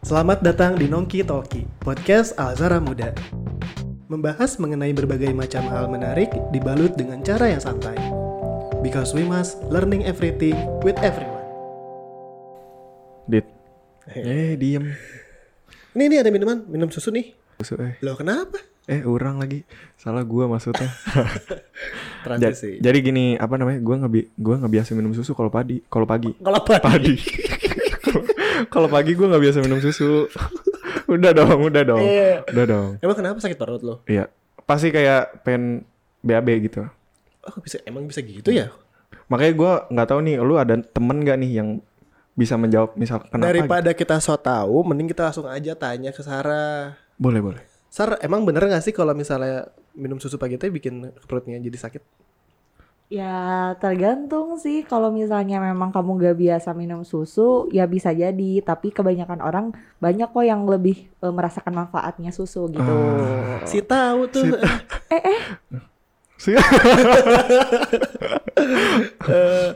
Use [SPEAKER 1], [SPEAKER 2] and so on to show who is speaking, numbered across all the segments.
[SPEAKER 1] Selamat datang di Nongki Talki, podcast Alzara Muda. Membahas mengenai berbagai macam hal menarik dibalut dengan cara yang santai. Because we must learning everything with everyone.
[SPEAKER 2] Dit.
[SPEAKER 1] Iya.
[SPEAKER 2] Eh, diem.
[SPEAKER 1] Ini nih ada minuman, minum susu nih.
[SPEAKER 2] Busuk, eh.
[SPEAKER 1] Loh kenapa?
[SPEAKER 2] Eh, orang lagi. Salah gua maksudnya. Ja-
[SPEAKER 1] Transisi.
[SPEAKER 2] jadi gini, apa namanya? Gua ngebi gua nggak biasa minum susu kalau padi, kalau pagi.
[SPEAKER 1] Kalau padi.
[SPEAKER 2] Padi. kalau pagi gua nggak biasa minum susu. udah dong, udah dong.
[SPEAKER 1] Iya.
[SPEAKER 2] Udah dong.
[SPEAKER 1] Emang kenapa sakit perut lo?
[SPEAKER 2] Iya. Pasti kayak pengen BAB gitu.
[SPEAKER 1] Oh, bisa emang bisa gitu ya?
[SPEAKER 2] Makanya gua nggak tahu nih lu ada temen gak nih yang bisa menjawab misal kenapa gitu.
[SPEAKER 1] Daripada kita so tahu, mending kita langsung aja tanya ke Sarah.
[SPEAKER 2] Boleh, boleh.
[SPEAKER 1] Sar, emang bener gak sih kalau misalnya minum susu pagi teh bikin perutnya jadi sakit?
[SPEAKER 3] Ya tergantung sih kalau misalnya memang kamu gak biasa minum susu ya bisa jadi tapi kebanyakan orang banyak kok yang lebih eh, merasakan manfaatnya susu gitu.
[SPEAKER 2] Ah.
[SPEAKER 1] Si tahu tuh.
[SPEAKER 2] Si Sih.
[SPEAKER 1] Eh,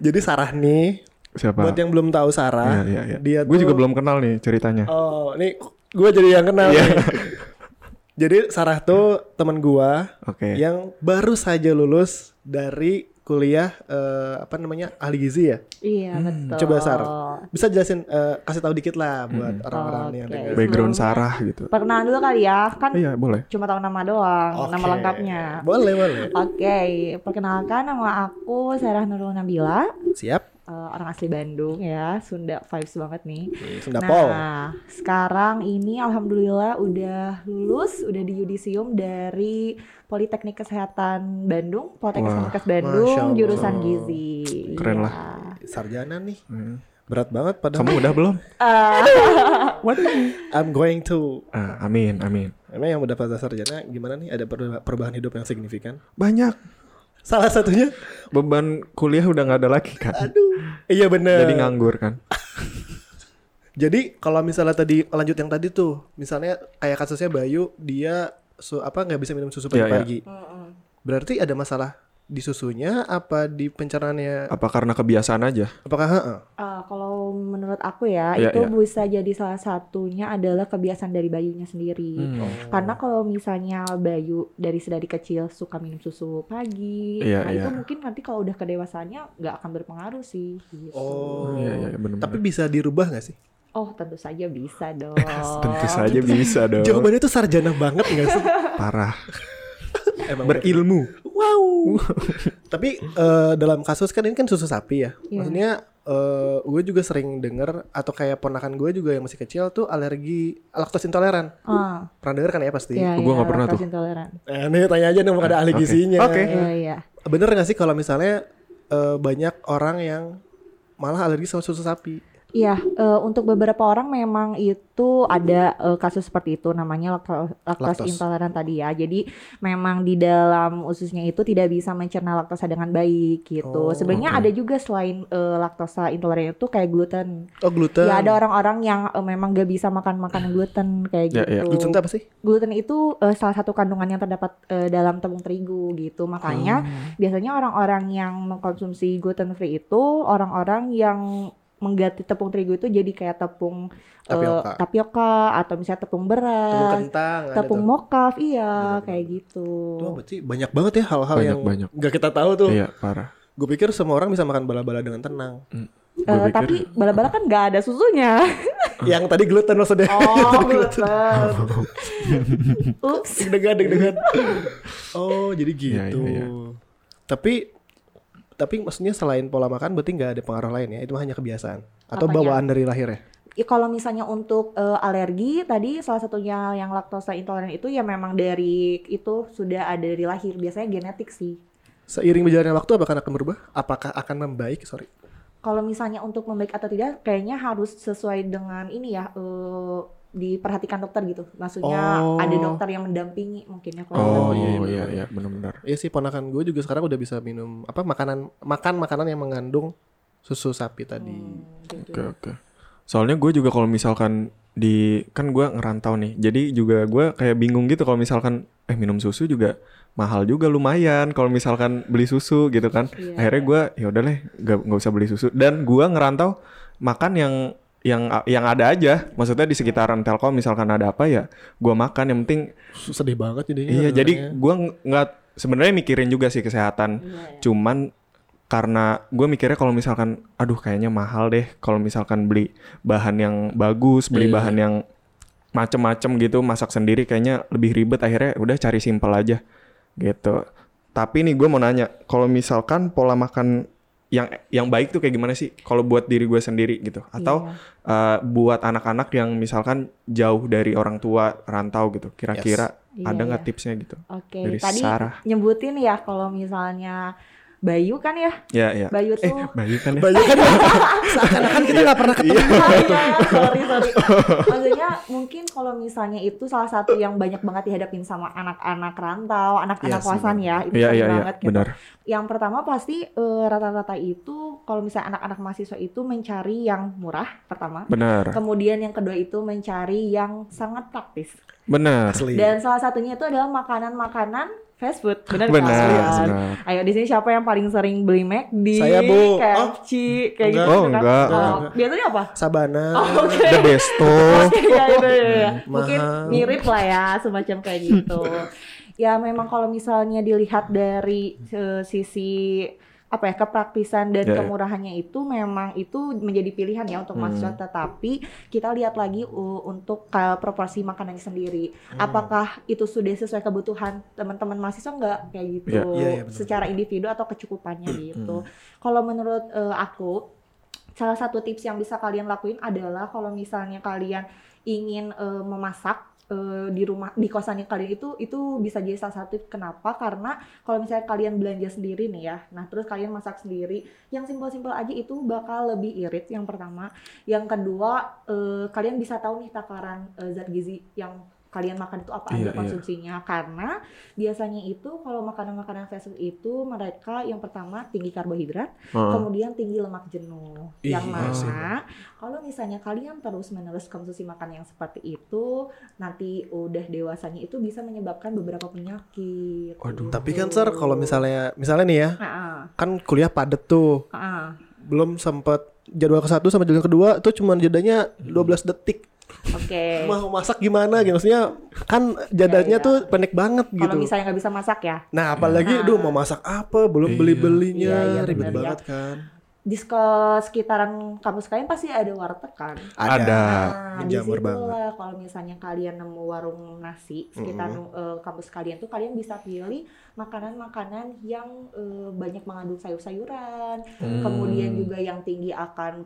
[SPEAKER 1] jadi Sarah nih,
[SPEAKER 2] Siapa?
[SPEAKER 1] buat yang belum tahu Sarah,
[SPEAKER 2] Iya, iya, iya.
[SPEAKER 1] dia
[SPEAKER 2] Gue
[SPEAKER 1] tuh-
[SPEAKER 2] juga belum kenal nih ceritanya.
[SPEAKER 1] Oh, ini gue jadi yang kenal.
[SPEAKER 2] Iya.
[SPEAKER 1] nih. jadi Sarah tuh teman gue
[SPEAKER 2] Oke.
[SPEAKER 1] yang baru saja lulus dari kuliah eh, apa namanya ahli gizi ya.
[SPEAKER 3] Iya betul.
[SPEAKER 1] Coba Sar, bisa jelasin eh, kasih tahu dikit lah buat orang-orang yang
[SPEAKER 3] Oke.
[SPEAKER 1] dengar.
[SPEAKER 2] Background
[SPEAKER 3] Sebelumnya-
[SPEAKER 2] Sarah gitu.
[SPEAKER 3] Perkenalan dulu kali ya kan
[SPEAKER 2] Iya, boleh.
[SPEAKER 3] cuma tahu nama doang
[SPEAKER 1] Oke.
[SPEAKER 3] nama lengkapnya.
[SPEAKER 1] Boleh, boleh.
[SPEAKER 3] Oke perkenalkan nama aku Sarah Nurul Nabila
[SPEAKER 1] Siap.
[SPEAKER 3] eh, orang asli Bandung ya Sunda vibes banget nih.
[SPEAKER 1] Sundapol.
[SPEAKER 3] Nah, sekarang ini alhamdulillah udah lulus, udah di yudisium dari Politeknik Kesehatan Bandung, Politeknik
[SPEAKER 2] Wah,
[SPEAKER 3] Kesehatan
[SPEAKER 1] Masya
[SPEAKER 3] Bandung,
[SPEAKER 1] Allah.
[SPEAKER 3] jurusan gizi.
[SPEAKER 2] Keren
[SPEAKER 3] Iya.
[SPEAKER 2] lah.
[SPEAKER 1] Sarjana nih.
[SPEAKER 2] Hmm.
[SPEAKER 1] Berat banget padahal.
[SPEAKER 2] Kamu udah belum?
[SPEAKER 1] I'm going to.
[SPEAKER 2] Ah, amin, amin.
[SPEAKER 1] Emang yang udah pada sarjana gimana nih? Ada perba- perubahan hidup yang signifikan?
[SPEAKER 2] Banyak.
[SPEAKER 1] Salah satunya,
[SPEAKER 2] Beban kuliah udah nggak ada lagi kan.
[SPEAKER 1] aduh, iya bener.
[SPEAKER 2] Jadi nganggur kan.
[SPEAKER 1] Jadi kalau misalnya tadi lanjut yang tadi tuh, misalnya kayak kasusnya Bayu, dia su apa nggak bisa minum susu
[SPEAKER 2] Iya,
[SPEAKER 1] pagi-pagi. Berarti ada masalah di susunya apa di pencernaannya?
[SPEAKER 2] Apa karena kebiasaan aja?
[SPEAKER 1] Apakah heeh?
[SPEAKER 3] Eh, kalau menurut aku ya,
[SPEAKER 2] Iya,
[SPEAKER 3] itu
[SPEAKER 2] iya.
[SPEAKER 3] bisa jadi salah satunya adalah kebiasaan dari bayinya sendiri.
[SPEAKER 2] Hmm.
[SPEAKER 3] Karena kalau misalnya Bayu dari sedari kecil suka minum susu pagi,
[SPEAKER 2] Iya,
[SPEAKER 3] nah
[SPEAKER 2] iya.
[SPEAKER 3] itu mungkin nanti kalau udah kedewasaannya nggak akan berpengaruh sih. Gitu.
[SPEAKER 1] Oh.
[SPEAKER 2] Iya, iya, benar.
[SPEAKER 1] Tapi bisa dirubah nggak sih?
[SPEAKER 3] Oh tentu saja bisa dong.
[SPEAKER 2] tentu saja bisa dong.
[SPEAKER 1] Jawabannya tuh sarjana banget nggak sih?
[SPEAKER 2] Parah.
[SPEAKER 1] Emang
[SPEAKER 2] Berilmu.
[SPEAKER 1] Wow. Tapi eh, dalam kasus kan ini kan susu sapi ya.
[SPEAKER 3] Iya.
[SPEAKER 1] Maksudnya eh, gue juga sering denger atau kayak ponakan gue juga yang masih kecil tuh alergi laktos intoleran.
[SPEAKER 3] Ah,
[SPEAKER 1] Pernah denger kan ya pasti.
[SPEAKER 3] iya,
[SPEAKER 2] Gua
[SPEAKER 3] iya,
[SPEAKER 2] nggak pernah tuh. Eh.
[SPEAKER 3] laktos intoleran.
[SPEAKER 1] Eh, ini tanya aja nih mau ada ahli
[SPEAKER 2] Oke.
[SPEAKER 1] gizinya.
[SPEAKER 2] Oke.
[SPEAKER 3] Iya iya.
[SPEAKER 1] Bener gak sih kalau misalnya eh, banyak orang yang malah alergi sama susu sapi?
[SPEAKER 3] Iya, eh, untuk beberapa orang memang itu ada eh, kasus seperti itu namanya lakto-
[SPEAKER 1] Laktos.
[SPEAKER 3] laktos intoleran tadi ya. Jadi memang di dalam ususnya itu tidak bisa mencerna laktosa dengan baik
[SPEAKER 1] Oh,
[SPEAKER 3] gitu.
[SPEAKER 2] oke.
[SPEAKER 3] Sebenarnya ada juga selain eh, laktosa intoleran itu kayak gluten.
[SPEAKER 1] Oh gluten.
[SPEAKER 3] Ya ada orang-orang yang eh, memang gak bisa makan makanan gluten kayak
[SPEAKER 2] Ya,
[SPEAKER 3] gitu.
[SPEAKER 2] ya.
[SPEAKER 1] Gluten tuh apa sih?
[SPEAKER 3] gluten itu eh, salah satu kandungan yang terdapat eh, dalam tepung terigu gitu. Makanya
[SPEAKER 1] Oh.
[SPEAKER 3] biasanya orang-orang yang mengkonsumsi gluten free itu orang-orang yang mengganti tepung terigu itu jadi kayak tepung eh,
[SPEAKER 1] Tapioka.
[SPEAKER 3] tapioka atau misalnya
[SPEAKER 1] Tepung
[SPEAKER 3] tepung
[SPEAKER 1] gitu.
[SPEAKER 3] beras,
[SPEAKER 1] kentang. ada
[SPEAKER 3] Eh, tepung
[SPEAKER 1] tuh.
[SPEAKER 3] mokaf, iya
[SPEAKER 1] Benar-benar.
[SPEAKER 3] kayak gitu.
[SPEAKER 1] Tuh, berarti banyak banget ya hal-hal
[SPEAKER 2] Banyak,
[SPEAKER 1] yang
[SPEAKER 2] banyak.
[SPEAKER 1] gak kita tahu tuh.
[SPEAKER 2] Iya, parah.
[SPEAKER 1] Gue pikir semua orang bisa makan bala-bala dengan tenang.
[SPEAKER 3] Eh,
[SPEAKER 2] Gua pikir-
[SPEAKER 3] tapi bala-bala kan nggak ada susunya.
[SPEAKER 2] Ah.
[SPEAKER 1] Yang tadi gluten maksudnya.
[SPEAKER 3] Oh, gluten. Ups.
[SPEAKER 1] deg-degan deg-degan oh jadi gitu
[SPEAKER 2] Iya, iya, iya.
[SPEAKER 1] tapi tapi maksudnya selain pola makan berarti nggak ada pengaruh lain ya itu hanya kebiasaan atau
[SPEAKER 3] Apanya?
[SPEAKER 1] bawaan dari lahir ya
[SPEAKER 3] Ya, kalau misalnya untuk eh, alergi tadi salah satunya yang laktosa intoleran itu ya memang dari itu sudah ada dari lahir biasanya genetik sih.
[SPEAKER 1] seiring berjalannya waktu apakah akan berubah apakah akan membaik sorry
[SPEAKER 3] Kalau misalnya untuk membaik atau tidak kayaknya harus sesuai dengan ini ya eh, diperhatikan dokter gitu. Maksudnya
[SPEAKER 1] Oh.
[SPEAKER 3] ada dokter yang mendampingi mungkin ya kalau
[SPEAKER 2] Oh,
[SPEAKER 3] dokter.
[SPEAKER 2] iya, iya, iya, benar-benar.
[SPEAKER 1] ya sih ponakan gue juga sekarang udah bisa minum apa makanan makan makanan yang mengandung susu sapi tadi
[SPEAKER 3] Hmm, gitu.
[SPEAKER 2] Oke oke. Soalnya gue juga kalau misalkan di kan gue ngerantau nih, jadi juga gue kayak bingung gitu kalau misalkan eh minum susu juga mahal juga lumayan kalau misalkan beli susu gitu kan.
[SPEAKER 3] Iya.
[SPEAKER 2] Akhirnya gue ya udah deh nggak nggak usah beli susu dan gue ngerantau makan yang yang yang ada aja maksudnya di sekitaran Telkom misalkan ada apa ya gua makan yang penting
[SPEAKER 1] Sedih banget jadinya.
[SPEAKER 2] Iya,
[SPEAKER 1] dengarnya.
[SPEAKER 2] jadi gua ng- nggak sebenarnya mikirin juga sih kesehatan. Cuman karena gue mikirnya kalau misalkan, aduh kayaknya mahal deh kalau misalkan beli bahan yang bagus, beli
[SPEAKER 1] Iya.
[SPEAKER 2] bahan yang macem-macem gitu, masak sendiri kayaknya lebih ribet. Akhirnya "Ya udah cari simpel aja gitu. Tapi nih gue mau nanya, kalau misalkan pola makan yang yang baik tuh kayak gimana sih? Kalau buat diri gue sendiri gitu,
[SPEAKER 3] Iya.
[SPEAKER 2] atau eh, buat anak-anak yang misalkan jauh dari orang tua, rantau gitu, kira-kira
[SPEAKER 3] Iya,
[SPEAKER 2] ada nggak
[SPEAKER 3] iya.
[SPEAKER 2] tipsnya gitu?
[SPEAKER 3] Oke,
[SPEAKER 2] dari
[SPEAKER 3] tadi
[SPEAKER 2] Sarah.
[SPEAKER 3] nyebutin ya kalau misalnya Bayu kan ya,
[SPEAKER 2] Ya ya.
[SPEAKER 3] Bayu
[SPEAKER 2] Eh,
[SPEAKER 3] tuh
[SPEAKER 2] Bayu kan ya.
[SPEAKER 1] Banyak kan seakan-akan kita nggak pernah ketemu.
[SPEAKER 3] Ah, iya, sorry, sorry. Maksudnya mungkin kalau misalnya itu salah satu yang banyak banget dihadapin sama anak-anak rantau, anak-anak
[SPEAKER 1] Iya sih,
[SPEAKER 3] kosan ya, itu
[SPEAKER 2] Iya
[SPEAKER 3] sering
[SPEAKER 2] iya iya,
[SPEAKER 3] banget gitu.
[SPEAKER 2] benar.
[SPEAKER 3] Yang pertama pasti eh, rata-rata itu kalau misalnya anak-anak mahasiswa itu mencari yang murah pertama.
[SPEAKER 2] Benar.
[SPEAKER 3] Kemudian yang kedua itu mencari yang sangat praktis.
[SPEAKER 2] Benar.
[SPEAKER 1] Asli.
[SPEAKER 3] Dan salah satunya itu adalah makanan-makanan fast food. Benar kan?
[SPEAKER 2] Benar. benar.
[SPEAKER 3] Ayo di sini siapa yang paling sering beli McD,
[SPEAKER 1] Saya, Bu.
[SPEAKER 3] KFC,
[SPEAKER 1] Enggak.
[SPEAKER 3] kayak gitu
[SPEAKER 2] Oh,
[SPEAKER 3] kan?
[SPEAKER 2] enggak.
[SPEAKER 3] Oh,
[SPEAKER 1] Enggak.
[SPEAKER 3] biasanya apa?
[SPEAKER 1] Sabana.
[SPEAKER 3] Oh, Oke.
[SPEAKER 2] The besto.
[SPEAKER 3] Oke, ya, itu, ya, ya. Mungkin
[SPEAKER 1] mahal.
[SPEAKER 3] mirip lah ya, semacam kayak gitu. ya memang kalau misalnya dilihat dari eh, sisi apa ya kepraktisan dan
[SPEAKER 2] Ya, ya.
[SPEAKER 3] kemurahannya itu memang itu menjadi pilihan ya untuk mahasiswa tetapi kita lihat lagi uh, untuk uh, proporsi makanannya sendiri apakah itu sudah sesuai kebutuhan teman-teman mahasiswa nggak kayak gitu
[SPEAKER 2] Ya,
[SPEAKER 1] iya, iya, benar.
[SPEAKER 3] secara individu atau kecukupannya
[SPEAKER 2] Hmm,
[SPEAKER 3] gitu kalau menurut eh, aku salah satu tips yang bisa kalian lakuin adalah kalau misalnya kalian ingin eh, memasak eh, di rumah di kosan yang kalian itu itu bisa jadi salah satu kenapa karena kalau misalnya kalian belanja sendiri nih ya nah terus kalian masak sendiri yang simpel-simpel aja itu bakal lebih irit yang pertama yang kedua eh, kalian bisa tahu nih takaran eh, zat gizi yang kalian makan itu apa
[SPEAKER 2] Iya,
[SPEAKER 3] aja
[SPEAKER 2] iya.
[SPEAKER 3] konsumsinya karena biasanya itu kalau makanan-makanan fast food itu mereka yang pertama tinggi karbohidrat
[SPEAKER 2] Heeh.
[SPEAKER 3] kemudian tinggi lemak jenuh
[SPEAKER 1] Ih,
[SPEAKER 3] yang
[SPEAKER 1] iya
[SPEAKER 3] mana
[SPEAKER 1] sih.
[SPEAKER 3] kalau misalnya kalian terus menerus konsumsi makan yang seperti itu nanti udah dewasanya itu bisa menyebabkan beberapa penyakit Gitu.
[SPEAKER 2] Waduh.
[SPEAKER 1] Tapi kan sir kalau misalnya misalnya nih ya
[SPEAKER 3] Ah,
[SPEAKER 1] kan kuliah padet tuh
[SPEAKER 3] ah, ah.
[SPEAKER 1] belum sempet jadwal ke satu sama jadwal kedua tuh cuma jedanya 12 detik
[SPEAKER 3] oke
[SPEAKER 1] mau masak gimana gitu maksudnya kan jadanya
[SPEAKER 3] Ya, ya.
[SPEAKER 1] tuh pendek banget
[SPEAKER 3] kalau
[SPEAKER 1] gitu
[SPEAKER 3] misalnya nggak bisa masak ya
[SPEAKER 1] nah apalagi
[SPEAKER 3] Nah.
[SPEAKER 1] duh mau masak apa belum beli belinya
[SPEAKER 3] Iya, iya,
[SPEAKER 1] ribet
[SPEAKER 3] bener ya.
[SPEAKER 1] banget kan
[SPEAKER 3] di sek- sekitaran kampus kalian pasti ada warteg kan
[SPEAKER 2] Ada.
[SPEAKER 3] Nah, di
[SPEAKER 1] menjamur
[SPEAKER 3] situ
[SPEAKER 1] banget.
[SPEAKER 3] lah kalau misalnya kalian nemu warung nasi sekitar eh, kampus kalian tuh kalian bisa pilih makanan-makanan yang eh, banyak mengandung sayur-sayuran, kemudian juga yang tinggi akan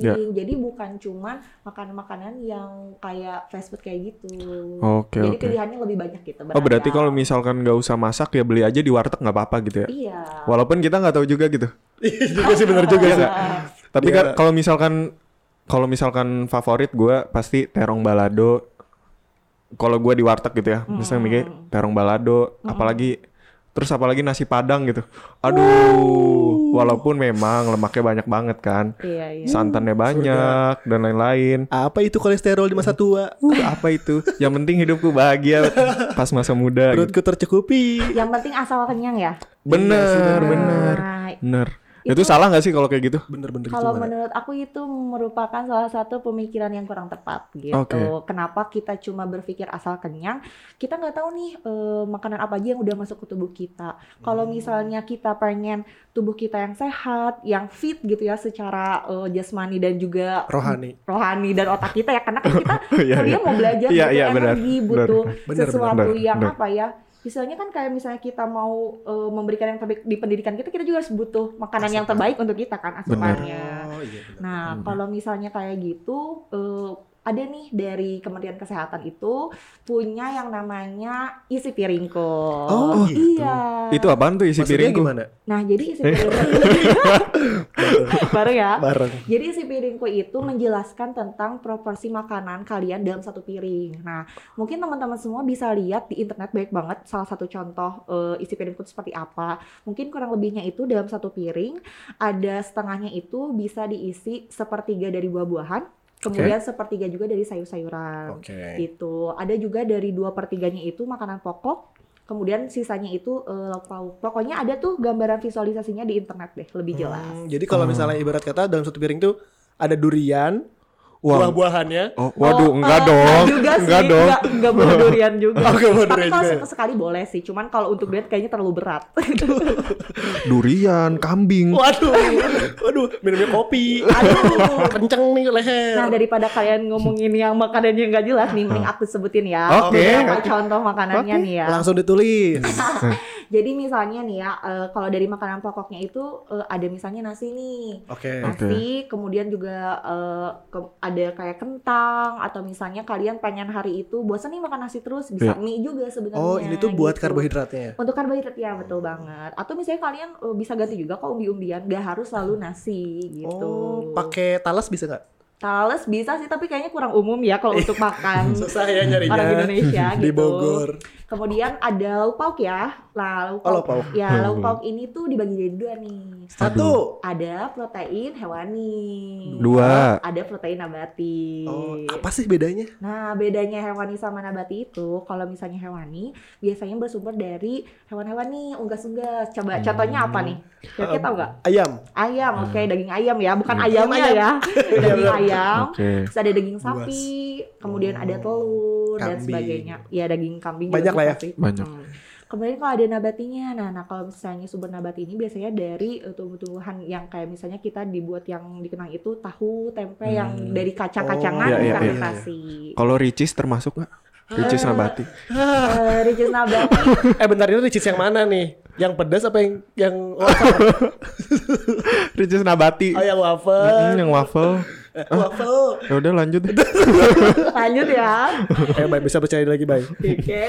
[SPEAKER 2] Hmm. Ya.
[SPEAKER 3] Jadi bukan cuman makanan-makanan yang kayak fast food kayak gitu.
[SPEAKER 2] Oh, Oke
[SPEAKER 3] Jadi
[SPEAKER 2] oke.
[SPEAKER 3] pilihannya lebih banyak gitu.
[SPEAKER 2] Oh berarti
[SPEAKER 3] beragam.
[SPEAKER 2] kalau misalkan nggak usah masak ya beli aja di warteg nggak apa-apa gitu ya.
[SPEAKER 3] iya.
[SPEAKER 2] Walaupun kita nggak tahu juga gitu.
[SPEAKER 1] juga sih bener juga
[SPEAKER 2] Iya
[SPEAKER 1] sih
[SPEAKER 2] nggak? Tapi
[SPEAKER 1] Iya.
[SPEAKER 2] kan kalau misalkan kalau misalkan favorit gue pasti terong balado. Kalau gue di warteg gitu ya, misalnya mikir terong balado, apalagi terus apalagi nasi padang gitu. Aduh, walaupun memang lemaknya banyak banget kan,
[SPEAKER 3] Iya, iya.
[SPEAKER 2] santannya banyak dan lain-lain.
[SPEAKER 1] apa itu kolesterol di masa tua
[SPEAKER 2] Uh, apa itu? Yang penting hidupku bahagia pas masa muda. gitu.
[SPEAKER 1] perutku tercukupi
[SPEAKER 3] Yang penting asal kenyang ya.
[SPEAKER 2] Bener, bener,
[SPEAKER 3] Nah,
[SPEAKER 2] bener. Ya, Itu,
[SPEAKER 3] Itu-
[SPEAKER 2] salah nggak sih kalau kayak gitu?
[SPEAKER 1] bener-bener
[SPEAKER 3] Kalau
[SPEAKER 1] gimana?
[SPEAKER 3] menurut aku itu merupakan salah satu pemikiran yang kurang tepat gitu.
[SPEAKER 2] Oke.
[SPEAKER 3] Kenapa kita cuma berpikir asal kenyang? Kita nggak tahu nih eh, makanan apa aja yang udah masuk ke tubuh kita. Kalau misalnya kita pengen tubuh kita yang sehat, yang fit gitu ya secara eh, jasmani dan juga
[SPEAKER 1] rohani
[SPEAKER 3] rohani dan otak kita ya karena kan kita
[SPEAKER 2] Iya,
[SPEAKER 3] dia
[SPEAKER 2] iya.
[SPEAKER 3] mau
[SPEAKER 2] Iya,
[SPEAKER 3] belajar butuh
[SPEAKER 2] iya, benar,
[SPEAKER 3] energi
[SPEAKER 2] benar.
[SPEAKER 3] butuh
[SPEAKER 1] Benar,
[SPEAKER 3] sesuatu
[SPEAKER 2] benar,
[SPEAKER 3] yang
[SPEAKER 2] benar.
[SPEAKER 3] apa ya misalnya kan kayak misalnya kita mau eh, memberikan yang terbaik di pendidikan kita kita juga harus butuh makanan yang terbaik untuk kita kan asupannya
[SPEAKER 1] oh iya bener.
[SPEAKER 3] nah kalau misalnya kayak gitu eh, ada nih dari Kementerian Kesehatan itu punya yang namanya isi piringku
[SPEAKER 1] Oh, gitu.
[SPEAKER 3] iya
[SPEAKER 2] Itu apaan tuh isi
[SPEAKER 1] maksudnya
[SPEAKER 2] piringku?
[SPEAKER 1] gimana
[SPEAKER 3] nah jadi isi piringku baru ya
[SPEAKER 1] bareng
[SPEAKER 3] jadi si piringku itu menjelaskan tentang proporsi makanan kalian dalam satu piring. Nah, mungkin teman-teman semua bisa lihat di internet banyak banget salah satu contoh eh, isi piringku itu seperti apa. Mungkin kurang lebihnya itu dalam satu piring ada setengahnya itu bisa diisi sepertiga dari buah-buahan. Kemudian sepertiga juga dari sayur-sayuran
[SPEAKER 1] oke
[SPEAKER 3] gitu. Ada juga dari dua pertiganya itu makanan pokok, kemudian sisanya itu eh, lauk pauk. Pokoknya ada tuh gambaran visualisasinya di internet deh, lebih Iya, jelas.
[SPEAKER 1] Hmm, jadi kalau misalnya ibarat kata dalam satu piring tuh ada durian,
[SPEAKER 2] Wah.
[SPEAKER 4] buah-buahannya.
[SPEAKER 2] Oh, waduh,
[SPEAKER 3] Oh,
[SPEAKER 2] enggak
[SPEAKER 3] eh,
[SPEAKER 2] dong.
[SPEAKER 3] juga sih,
[SPEAKER 2] enggak dong.
[SPEAKER 3] Enggak, enggak boleh durian juga.
[SPEAKER 4] Oke, buah
[SPEAKER 3] Tapi
[SPEAKER 4] durian
[SPEAKER 3] kalau
[SPEAKER 4] juga.
[SPEAKER 3] se- sekali boleh sih, cuman kalau untuk diet kayaknya terlalu berat.
[SPEAKER 2] Durian, kambing.
[SPEAKER 4] Waduh, waduh, minumnya kopi.
[SPEAKER 3] Aduh.
[SPEAKER 4] Kenceng nih leher.
[SPEAKER 3] Nah daripada kalian ngomongin yang makanan yang nggak jelas nih, mending aku sebutin ya.
[SPEAKER 2] Oke,
[SPEAKER 3] beberapa
[SPEAKER 2] oke.
[SPEAKER 3] contoh makanannya nih ya.
[SPEAKER 1] Langsung ditulis.
[SPEAKER 3] Jadi misalnya nih ya, eh, kalau dari makanan pokoknya itu eh, ada misalnya nasi nih.
[SPEAKER 4] Oke.
[SPEAKER 3] Nasi, kemudian juga eh, ke- ada kayak kentang atau misalnya kalian pengen hari itu bosan nih makan nasi terus,
[SPEAKER 2] Iya.
[SPEAKER 3] bisa mie juga sebenarnya.
[SPEAKER 1] Oh, ini tuh buat
[SPEAKER 3] gitu.
[SPEAKER 1] karbohidratnya.
[SPEAKER 3] Untuk karbohidrat ya betul banget. Atau misalnya kalian eh, bisa ganti juga kok umbi-umbian, gak harus selalu nasi gitu.
[SPEAKER 1] Oh, pakai talas bisa nggak?
[SPEAKER 3] Tales bisa sih, tapi kayaknya kurang umum ya kalau untuk makan
[SPEAKER 4] Susah ya
[SPEAKER 3] orang
[SPEAKER 4] nyarinya.
[SPEAKER 3] Indonesia gitu.
[SPEAKER 1] Di Bogor.
[SPEAKER 3] Kemudian ada lauk pauk ya. Nah,
[SPEAKER 1] Oh,
[SPEAKER 3] lauk pauk.
[SPEAKER 1] lauk pauk.
[SPEAKER 3] Ya, lauk pauk ini tuh dibagi jadi dua nih.
[SPEAKER 1] Satu.
[SPEAKER 3] Ada protein hewani.
[SPEAKER 2] Dua.
[SPEAKER 3] Ada protein nabati.
[SPEAKER 1] Oh, apa sih bedanya?
[SPEAKER 3] Nah, bedanya hewani sama nabati itu, kalau misalnya hewani, biasanya bersumber dari hewan-hewan nih, unggas-unggas. Coba
[SPEAKER 2] Hmm.
[SPEAKER 3] contohnya apa nih? Ya, kita tahu nggak?
[SPEAKER 1] Ayam.
[SPEAKER 3] Ayam, oke, daging ayam ya, bukan
[SPEAKER 2] Ah. Hmm. Iya,
[SPEAKER 3] ayamnya ya. daging ayam.
[SPEAKER 2] Oke. Oh.
[SPEAKER 3] Terus ada daging sapi, kemudian ada telur dan
[SPEAKER 1] Kambing.
[SPEAKER 3] sebagainya. Ya daging kambing
[SPEAKER 1] Banyak
[SPEAKER 3] juga
[SPEAKER 1] lah ya.
[SPEAKER 3] sih.
[SPEAKER 2] Banyak.
[SPEAKER 3] Hmm. Kemudian kalau ada nabatinya, nah, nah kalau misalnya sumber nabati ini biasanya dari eh, tumbuh-tumbuhan yang kayak misalnya kita dibuat yang dikenang itu tahu, tempe yang dari kacang-kacangan
[SPEAKER 2] Hmm. Oh, iya, iya, iya,
[SPEAKER 3] fermentasi.
[SPEAKER 2] Kalau ricis termasuk nggak? Ricis nabati.
[SPEAKER 3] Eh, Ricis nabati
[SPEAKER 4] Eh bentar ini ricis yang mana nih? Yang pedas apa yang yang
[SPEAKER 2] ricis nabati.
[SPEAKER 4] oh yang
[SPEAKER 2] Mm,
[SPEAKER 4] wafer?
[SPEAKER 2] yang waffle.
[SPEAKER 4] Eh, waffle.
[SPEAKER 2] Ya udah lanjut.
[SPEAKER 3] lanjut ya.
[SPEAKER 4] Eh baik bisa percaya lagi baik.
[SPEAKER 3] Oke.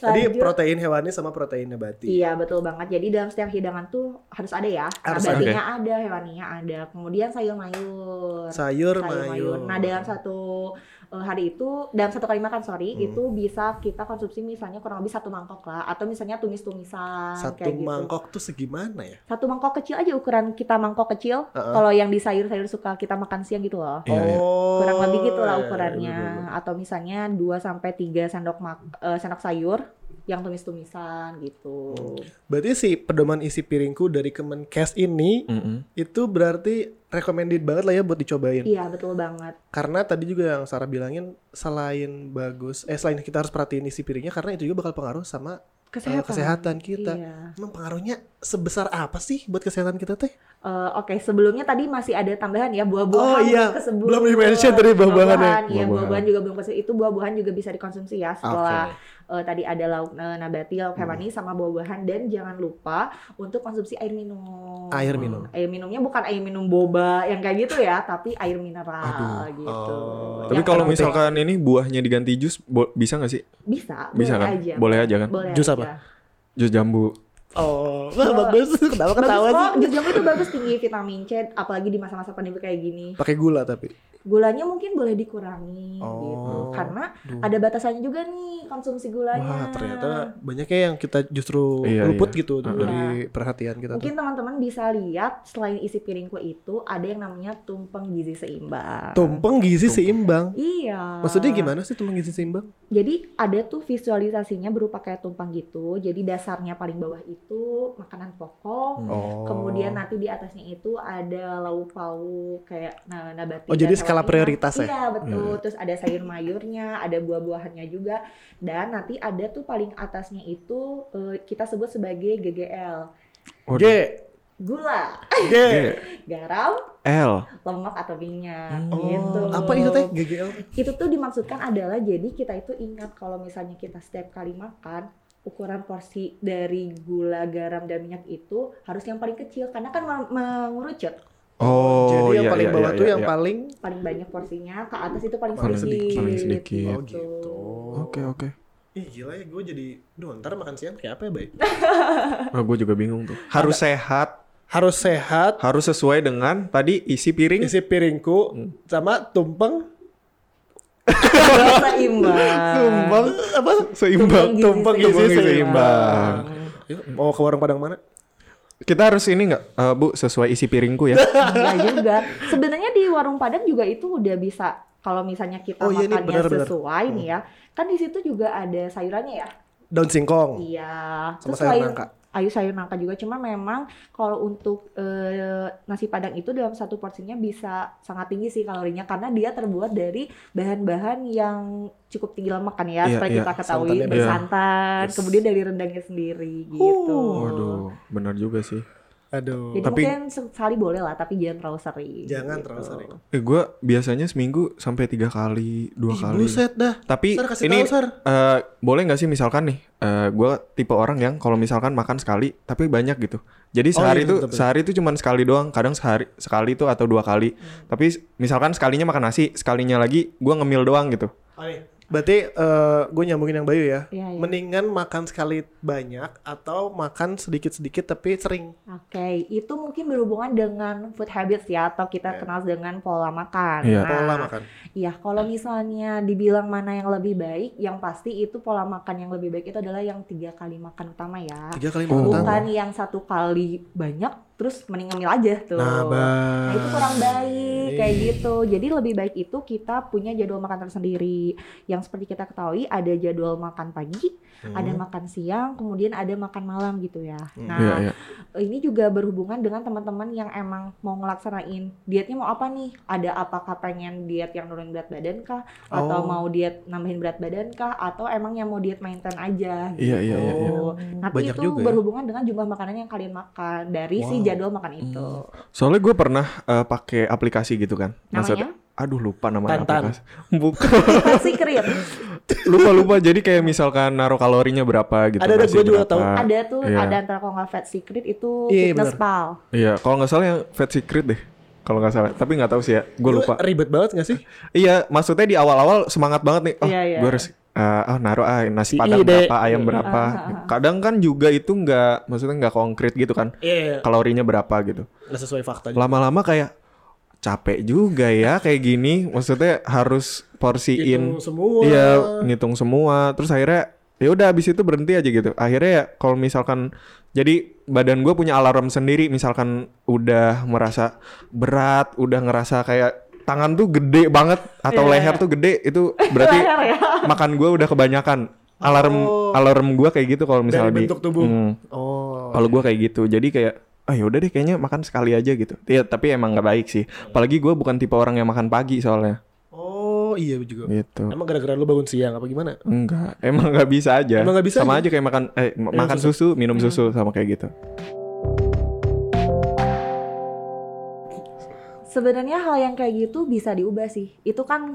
[SPEAKER 1] Tadi
[SPEAKER 3] Lanjut.
[SPEAKER 1] protein hewani sama protein nabati.
[SPEAKER 3] Iya betul banget. Jadi dalam setiap hidangan tuh harus ada ya.
[SPEAKER 1] Harus
[SPEAKER 2] ada.
[SPEAKER 3] Nabatinya ada, hewaninya ada. Kemudian sayur mayur.
[SPEAKER 1] Sayur,
[SPEAKER 3] sayur mayur.
[SPEAKER 1] mayur.
[SPEAKER 3] Nah dalam satu eh, hari itu, dalam satu kali makan sorry,
[SPEAKER 1] Hmm.
[SPEAKER 3] itu bisa kita konsumsi misalnya kurang lebih satu mangkok lah, atau misalnya tumis-tumisan
[SPEAKER 1] Satu
[SPEAKER 3] kayak gitu.
[SPEAKER 1] mangkok tuh segimana ya?
[SPEAKER 3] Satu mangkok kecil aja ukuran kita mangkok kecil.
[SPEAKER 1] Heeh.
[SPEAKER 3] Kalau yang di sayur-sayur suka kita makan siang gitu loh.
[SPEAKER 2] Iya, iya.
[SPEAKER 1] Oh.
[SPEAKER 3] Kurang lebih gitu
[SPEAKER 1] iya,
[SPEAKER 3] lah
[SPEAKER 1] iya,
[SPEAKER 3] ukurannya.
[SPEAKER 1] iya, iya.
[SPEAKER 3] Atau misalnya 2 sampai 3 sendok mak- eh, sendok sayur yang tumis-tumisan gitu.
[SPEAKER 1] Oh. iya. Berarti si pedoman isi piringku dari Kemenkes
[SPEAKER 3] Oh.
[SPEAKER 1] ini
[SPEAKER 2] Mm-mm.
[SPEAKER 1] itu berarti recommended banget lah ya buat dicobain.
[SPEAKER 3] Iya, betul banget.
[SPEAKER 1] Karena tadi juga yang Sarah bilangin selain bagus, eh selain kita harus perhatiin isi piringnya karena itu juga bakal pengaruh sama eh, kesehatan, kita.
[SPEAKER 3] Iya.
[SPEAKER 1] Emang pengaruhnya sebesar apa sih buat kesehatan kita teh?
[SPEAKER 3] Eh, Oke, sebelumnya tadi masih ada tambahan ya buah-buahan
[SPEAKER 1] Oh, iya.
[SPEAKER 3] kesebut.
[SPEAKER 1] Belum di-mention tadi ya. buah-buahannya.
[SPEAKER 3] Buah-buahan, iya,
[SPEAKER 2] Buah-buahan.
[SPEAKER 3] buah-buahan juga belum kesebut. Itu buah-buahan juga bisa dikonsumsi ya setelah eh, tadi ada lauk eh, nabati,
[SPEAKER 1] Hmm.
[SPEAKER 3] lauk hewani sama buah-buahan dan jangan lupa untuk konsumsi air minum.
[SPEAKER 1] Air minum.
[SPEAKER 3] Air minumnya bukan air minum boba yang kayak gitu ya, tapi air mineral gitu.
[SPEAKER 1] Oh.
[SPEAKER 2] Tapi
[SPEAKER 3] Yang
[SPEAKER 2] kalau
[SPEAKER 3] penting-
[SPEAKER 2] misalkan ini buahnya diganti jus, bo- bisa nggak sih?
[SPEAKER 3] bisa,
[SPEAKER 2] Bisa
[SPEAKER 3] boleh
[SPEAKER 2] kan?
[SPEAKER 3] aja.
[SPEAKER 2] Boleh aja kan?
[SPEAKER 3] Boleh
[SPEAKER 1] Jus
[SPEAKER 3] aja.
[SPEAKER 1] apa?
[SPEAKER 2] Jus jambu.
[SPEAKER 1] Oh, wah, bagus. Kenapa ketawa sih?
[SPEAKER 3] bagus kok, jus jambu itu bagus tinggi vitamin C, apalagi di masa-masa pandemi kayak gini.
[SPEAKER 1] Pakai gula tapi.
[SPEAKER 3] gulanya mungkin boleh dikurangi gitu
[SPEAKER 1] Oh.
[SPEAKER 3] karena ada batasannya juga nih konsumsi
[SPEAKER 1] Wah
[SPEAKER 3] gulanya
[SPEAKER 1] ternyata banyaknya yang kita justru
[SPEAKER 2] Iya,
[SPEAKER 1] luput
[SPEAKER 2] iya.
[SPEAKER 1] gitu
[SPEAKER 2] Heeh.
[SPEAKER 1] dari perhatian kita.
[SPEAKER 3] mungkin teman-teman bisa lihat selain isi piringku itu ada yang namanya tumpeng gizi seimbang
[SPEAKER 1] tuh. Tumpeng gizi seimbang.
[SPEAKER 3] iya
[SPEAKER 1] Maksudnya gimana sih tumpeng gizi seimbang?
[SPEAKER 3] jadi ada tuh visualisasinya berupa kayak tumpeng gitu jadi dasarnya paling bawah itu makanan pokok
[SPEAKER 1] Oh.
[SPEAKER 3] Kemudian nanti di atasnya itu ada lauk pauk kayak na- nabati.
[SPEAKER 1] Oh,
[SPEAKER 3] dan
[SPEAKER 1] jadi skala
[SPEAKER 3] hewaninya.
[SPEAKER 1] prioritas ya?
[SPEAKER 3] Iya betul. Terus ada sayur mayurnya, ada buah-buahannya juga, dan nanti ada tuh paling atasnya itu eh, kita sebut sebagai GGL,
[SPEAKER 1] G,
[SPEAKER 3] gula,
[SPEAKER 1] G.
[SPEAKER 3] garam,
[SPEAKER 2] L.
[SPEAKER 3] lemak atau minyak.
[SPEAKER 2] Oh,
[SPEAKER 3] gitu.
[SPEAKER 1] Hmm. Apa itu teh? GGL.
[SPEAKER 3] Itu tuh dimaksudkan adalah jadi kita itu ingat kalau misalnya kita setiap kali makan ukuran porsi dari gula, garam, dan minyak itu harus yang paling kecil karena kan mem- mengerucut.
[SPEAKER 2] Oh,
[SPEAKER 1] Jadi yang
[SPEAKER 2] iya,
[SPEAKER 1] paling
[SPEAKER 2] iya,
[SPEAKER 1] bawah
[SPEAKER 2] iya,
[SPEAKER 1] tuh
[SPEAKER 2] iya,
[SPEAKER 1] yang
[SPEAKER 2] iya.
[SPEAKER 1] paling
[SPEAKER 3] paling banyak porsinya ke atas itu paling,
[SPEAKER 2] Paling
[SPEAKER 3] sedikit,
[SPEAKER 2] sedikit, paling sedikit.
[SPEAKER 1] Oh gitu.
[SPEAKER 2] Oke, oke.
[SPEAKER 1] Ih gila ya gue jadi Duh ntar makan siang kayak apa ya baik
[SPEAKER 2] Nah, gue juga bingung tuh. Harus sehat,
[SPEAKER 1] Harus sehat
[SPEAKER 2] harus sesuai dengan tadi isi piring.
[SPEAKER 1] Isi piringku Sama tumpeng gitu.
[SPEAKER 3] seimbang
[SPEAKER 2] Tumpeng apa? Seimbang.
[SPEAKER 3] Tumpeng gitu gizi
[SPEAKER 2] Tumpeng
[SPEAKER 3] seimbang.
[SPEAKER 1] Yuk, Mau ke warung padang mana?
[SPEAKER 2] Kita harus ini nggak, eh, Bu, sesuai isi piringku ya.
[SPEAKER 3] Enggak juga sebenarnya di warung padang juga itu udah bisa kalau misalnya kita
[SPEAKER 1] Oh iya nih,
[SPEAKER 3] makannya
[SPEAKER 1] benar-benar. Hmm.
[SPEAKER 3] sesuai nih ya kan di situ juga ada sayurannya ya
[SPEAKER 1] Daun singkong
[SPEAKER 3] iya
[SPEAKER 1] Sama
[SPEAKER 3] Terus
[SPEAKER 1] sayur
[SPEAKER 3] selain-
[SPEAKER 1] nangka
[SPEAKER 3] ayu sayur nangka juga cuma memang kalau untuk eh, nasi padang itu dalam satu porsinya bisa sangat tinggi sih kalorinya karena dia terbuat dari bahan-bahan yang cukup tinggi lemak kan ya
[SPEAKER 2] Iya,
[SPEAKER 3] seperti
[SPEAKER 2] iya.
[SPEAKER 3] kita ketahui
[SPEAKER 1] Santannya
[SPEAKER 2] banyak.
[SPEAKER 3] bersantan
[SPEAKER 2] Yes.
[SPEAKER 3] kemudian dari rendangnya sendiri gitu
[SPEAKER 2] Waduh, benar juga sih.
[SPEAKER 1] Aduh.
[SPEAKER 3] jadi
[SPEAKER 2] Tapi-
[SPEAKER 3] mungkin sekali boleh lah tapi jangan terlalu sering
[SPEAKER 1] Jangan
[SPEAKER 3] gitu.
[SPEAKER 1] terlalu sering.
[SPEAKER 2] Eh, gue biasanya seminggu sampai tiga kali, dua
[SPEAKER 1] Ih,
[SPEAKER 2] kali.
[SPEAKER 1] buset dah.
[SPEAKER 2] Tapi
[SPEAKER 1] Sar kasih
[SPEAKER 2] ini
[SPEAKER 1] tahu, Sar.
[SPEAKER 2] eh, boleh nggak sih misalkan nih, eh, gue tipe orang yang kalau misalkan makan sekali tapi banyak gitu. Jadi
[SPEAKER 1] Oh,
[SPEAKER 2] sehari
[SPEAKER 1] iya,
[SPEAKER 2] itu
[SPEAKER 1] betul, betul.
[SPEAKER 2] sehari itu cuma sekali doang. Kadang sehari sekali itu atau dua kali.
[SPEAKER 1] Hmm.
[SPEAKER 2] Tapi s- misalkan sekalinya makan nasi, sekalinya lagi gue ngemil doang gitu.
[SPEAKER 1] Ah, Berarti gue nyambungin yang Bayu ya.
[SPEAKER 3] Iya, iya.
[SPEAKER 1] Mendingan makan sekali banyak atau makan sedikit-sedikit tapi sering.
[SPEAKER 3] Oke, itu mungkin berhubungan dengan food habits ya atau kita
[SPEAKER 1] Iya.
[SPEAKER 3] kenal dengan pola makan. Nah,
[SPEAKER 2] Iya.
[SPEAKER 1] Pola makan.
[SPEAKER 3] Iya, kalau misalnya dibilang mana yang lebih baik, yang pasti itu pola makan yang lebih baik itu adalah yang tiga kali makan utama ya.
[SPEAKER 1] Tiga kali
[SPEAKER 2] Oh.
[SPEAKER 1] makan.
[SPEAKER 3] Bukan yang satu kali banyak terus mending ngemil aja tuh.
[SPEAKER 1] Nah,
[SPEAKER 3] Nah,
[SPEAKER 1] bah.
[SPEAKER 3] itu kurang baik kayak gitu. Jadi lebih baik itu kita punya jadwal makan tersendiri. Yang seperti kita ketahui ada jadwal makan pagi, ada makan siang, kemudian ada makan malam gitu ya.
[SPEAKER 1] Hmm.
[SPEAKER 3] Nah,
[SPEAKER 2] Iya, iya.
[SPEAKER 3] ini juga berhubungan dengan teman-teman yang emang mau ngelaksanain dietnya mau apa nih? Ada apakah pengen diet yang nurunin berat badan kah? Atau
[SPEAKER 1] Oh.
[SPEAKER 3] mau diet nambahin berat badan kah? Atau emang yang mau diet maintain aja?
[SPEAKER 2] Iya, iya, iya, iya.
[SPEAKER 3] Oh, Nanti
[SPEAKER 1] Banyak
[SPEAKER 3] itu
[SPEAKER 1] juga ya.
[SPEAKER 3] berhubungan dengan jumlah makanan yang kalian makan dari si
[SPEAKER 1] Wow. Hmm.
[SPEAKER 3] jadwal makan itu.
[SPEAKER 2] Soalnya gue pernah eh, pakai aplikasi gitu kan.
[SPEAKER 3] Namanya?
[SPEAKER 2] aduh lupa nama
[SPEAKER 1] Tantan.
[SPEAKER 2] aplikasi. Bukan.
[SPEAKER 1] Iya.
[SPEAKER 3] Secret.
[SPEAKER 2] lupa lupa. Jadi kayak misalkan naruh kalorinya berapa gitu.
[SPEAKER 1] Ada, ada,
[SPEAKER 2] nasi
[SPEAKER 1] gua juga
[SPEAKER 2] berapa.
[SPEAKER 1] tahu.
[SPEAKER 3] Ada tuh
[SPEAKER 2] Iya.
[SPEAKER 3] ada antara kalau nggak Fat Secret itu
[SPEAKER 1] Iya, iya,
[SPEAKER 3] Fitness
[SPEAKER 1] benar.
[SPEAKER 3] Pal.
[SPEAKER 2] Iya, kalau nggak salah yang Fat Secret deh. Kalau nggak salah, tapi nggak tahu sih ya. Gue
[SPEAKER 1] Lu
[SPEAKER 2] lupa.
[SPEAKER 1] Ribet banget gak sih?
[SPEAKER 2] Iya, maksudnya di awal-awal semangat banget nih. Oh,
[SPEAKER 3] Iya, iya.
[SPEAKER 2] gue harus eh, ah, naruh ah, nasi
[SPEAKER 1] Si
[SPEAKER 2] padang
[SPEAKER 1] ide.
[SPEAKER 2] berapa, ayam
[SPEAKER 1] Iya.
[SPEAKER 2] berapa. Kadang kan juga itu nggak, maksudnya nggak konkret gitu kan.
[SPEAKER 1] Iya.
[SPEAKER 2] Kalorinya berapa gitu.
[SPEAKER 1] Nggak sesuai fakta. juga.
[SPEAKER 2] Lama-lama kayak capek juga ya kayak gini. Maksudnya harus porsiin.
[SPEAKER 1] Hitung semua.
[SPEAKER 2] Iya, ngitung semua. Terus akhirnya ya udah habis itu berhenti aja gitu. Akhirnya ya kalau misalkan jadi badan gue punya alarm sendiri misalkan udah merasa berat, udah ngerasa kayak tangan tuh gede banget atau
[SPEAKER 3] Iya,
[SPEAKER 2] leher
[SPEAKER 3] iya.
[SPEAKER 2] tuh gede itu berarti
[SPEAKER 3] Leher ya.
[SPEAKER 2] makan gue udah kebanyakan. Alarm
[SPEAKER 1] Oh.
[SPEAKER 2] alarm gue kayak gitu kalau misalnya di-
[SPEAKER 1] bentuk tubuh.
[SPEAKER 2] Hmm,
[SPEAKER 1] Oh.
[SPEAKER 2] kalau gue kayak gitu. Jadi kayak ah yaudah deh kayaknya makan sekali aja gitu. Ya tapi emang nggak baik sih. Apalagi gue bukan tipe orang yang makan pagi soalnya
[SPEAKER 1] Oh iya juga.
[SPEAKER 2] gitu.
[SPEAKER 1] Emang gara-gara lu bangun siang apa gimana?
[SPEAKER 2] Enggak, emang nggak bisa aja.
[SPEAKER 1] Emang nggak bisa aja?
[SPEAKER 2] sama
[SPEAKER 1] Iya,
[SPEAKER 2] aja kayak makan eh ma-
[SPEAKER 1] Minum
[SPEAKER 2] makan susu, minum susu sama kayak gitu.
[SPEAKER 3] Sebenarnya hal yang kayak gitu bisa diubah sih. Itu kan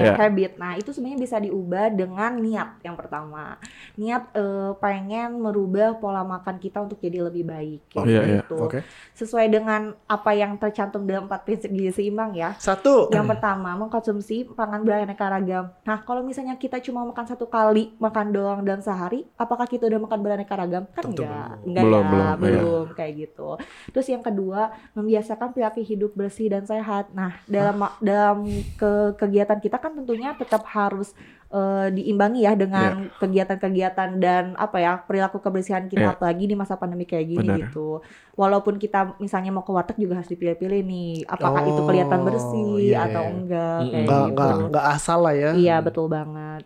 [SPEAKER 2] Habit, ya.
[SPEAKER 3] ya, habit. Nah, itu sebenarnya bisa diubah dengan niat yang pertama. Niat eh, pengen merubah pola makan kita untuk jadi lebih baik kayak
[SPEAKER 2] Iya, iya.
[SPEAKER 3] gitu. Sesuai dengan apa yang tercantum dalam empat prinsip gizi seimbang ya.
[SPEAKER 1] Satu.
[SPEAKER 3] Yang pertama, mengkonsumsi pangan beraneka ragam. Nah, kalau misalnya kita cuma makan satu kali makan doang dalam sehari, apakah kita udah makan beraneka ragam? Kan
[SPEAKER 1] Tentu
[SPEAKER 3] enggak,
[SPEAKER 1] belum.
[SPEAKER 3] enggak
[SPEAKER 2] Belum,
[SPEAKER 3] ya,
[SPEAKER 2] belum, iya.
[SPEAKER 3] belum, kayak gitu. Terus yang kedua, membiasakan perilaku hidup bersih dan sehat. Nah, dalam dalam ke- kegiatan kita kan tentunya tetap harus eh, diimbangi ya dengan kegiatan-kegiatan dan apa ya perilaku kebersihan
[SPEAKER 2] Iya.
[SPEAKER 3] kita apalagi di masa pandemi kayak gini
[SPEAKER 2] Benar.
[SPEAKER 3] gitu. Walaupun kita misalnya mau ke warteg juga harus dipilih-pilih nih apakah itu kelihatan
[SPEAKER 1] Oh,
[SPEAKER 3] bersih
[SPEAKER 1] iya,
[SPEAKER 3] atau
[SPEAKER 1] iya.
[SPEAKER 3] enggak kayak
[SPEAKER 1] Nggak,
[SPEAKER 3] gitu.
[SPEAKER 1] nggak, nggak asal lah ya.
[SPEAKER 3] Iya betul banget.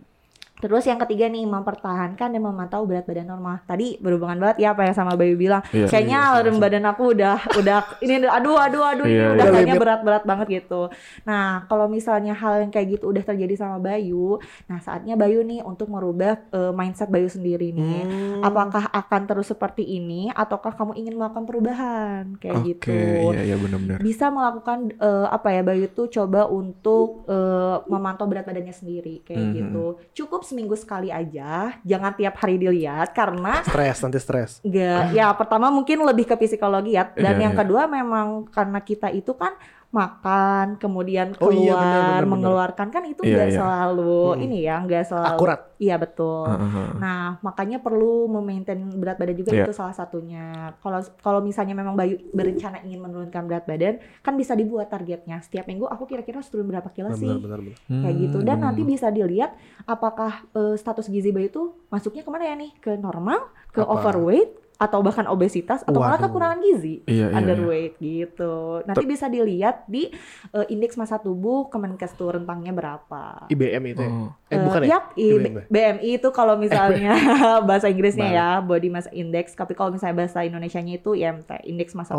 [SPEAKER 3] Terus yang ketiga nih mempertahankan dan memantau berat badan normal. Tadi berhubungan banget ya apa yang sama Bayu bilang.
[SPEAKER 2] Iya.
[SPEAKER 3] Kayaknya alarm badan aku udah udah ini aduh aduh aduh ini
[SPEAKER 2] Iya,
[SPEAKER 3] udah
[SPEAKER 2] iya.
[SPEAKER 3] kayaknya berat-berat banget gitu. Nah, kalau misalnya hal yang kayak gitu udah terjadi sama Bayu, nah saatnya Bayu nih untuk merubah eh, mindset Bayu sendiri nih.
[SPEAKER 1] Hmm.
[SPEAKER 3] Apakah akan terus seperti ini ataukah kamu ingin melakukan perubahan kayak
[SPEAKER 2] Oke,
[SPEAKER 3] gitu?
[SPEAKER 2] iya iya benar-benar.
[SPEAKER 3] bisa melakukan eh, apa ya Bayu tuh coba untuk eh, memantau berat badannya sendiri kayak
[SPEAKER 2] Mhm.
[SPEAKER 3] gitu cukup seminggu sekali aja jangan tiap hari dilihat karena
[SPEAKER 1] Stres nanti stres.
[SPEAKER 3] enggak ya pertama mungkin lebih ke psikologi ya dan
[SPEAKER 2] Iya,
[SPEAKER 3] yang
[SPEAKER 2] iya.
[SPEAKER 3] kedua memang karena kita itu kan makan kemudian
[SPEAKER 1] Oh
[SPEAKER 3] keluar
[SPEAKER 1] iya, benar, benar, benar.
[SPEAKER 3] mengeluarkan kan
[SPEAKER 2] Iya,
[SPEAKER 3] itu enggak
[SPEAKER 2] iya.
[SPEAKER 3] selalu
[SPEAKER 1] Mm-mm.
[SPEAKER 3] ini ya enggak selalu
[SPEAKER 1] Akurat.
[SPEAKER 3] iya betul
[SPEAKER 2] Ah, ah, ah.
[SPEAKER 3] Nah, makanya perlu memaintain berat badan juga
[SPEAKER 2] Iya.
[SPEAKER 3] itu salah satunya. Kalau kalau misalnya memang Bayu berencana ingin menurunkan berat badan, kan bisa dibuat targetnya. Setiap minggu aku kira-kira harus turun berapa kilo sih?
[SPEAKER 1] Benar, benar, benar.
[SPEAKER 3] Kayak gitu. Dan
[SPEAKER 2] Hmm,
[SPEAKER 3] nanti bisa dilihat apakah eh, status gizi Bayu itu masuknya kemana ya nih? Ke normal, ke
[SPEAKER 1] Apa?
[SPEAKER 3] overweight atau bahkan obesitas atau malah
[SPEAKER 1] Waduh.
[SPEAKER 3] kekurangan gizi
[SPEAKER 2] Iya, iya,
[SPEAKER 3] underweight gitu nanti bisa dilihat di eh, indeks massa tubuh Kemenkes tuh rentangnya berapa
[SPEAKER 1] IBM itu ya?
[SPEAKER 2] Oh.
[SPEAKER 1] Eh bukan
[SPEAKER 3] Eh,
[SPEAKER 1] ya?
[SPEAKER 3] yap, I-
[SPEAKER 1] IBM.
[SPEAKER 3] BMI itu kalau misalnya bahasa Inggrisnya ya body mass index, tapi kalau misalnya bahasa Indonesianya itu ya, IMT, indeks massa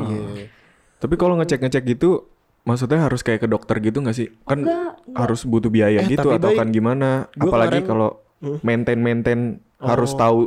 [SPEAKER 1] Oh, iya.
[SPEAKER 2] Tapi kalau ngecek-ngecek gitu, maksudnya harus kayak ke dokter gitu nggak sih? Kan
[SPEAKER 3] Enggak, enggak.
[SPEAKER 2] harus butuh biaya
[SPEAKER 1] Eh,
[SPEAKER 2] gitu
[SPEAKER 1] tapi
[SPEAKER 2] atau
[SPEAKER 1] Bay,
[SPEAKER 2] kan gimana?
[SPEAKER 1] gua
[SPEAKER 2] Apalagi
[SPEAKER 1] kemarin-
[SPEAKER 2] kalau
[SPEAKER 1] Hmm.
[SPEAKER 2] maintain-maintain
[SPEAKER 1] Oh.
[SPEAKER 2] harus tahu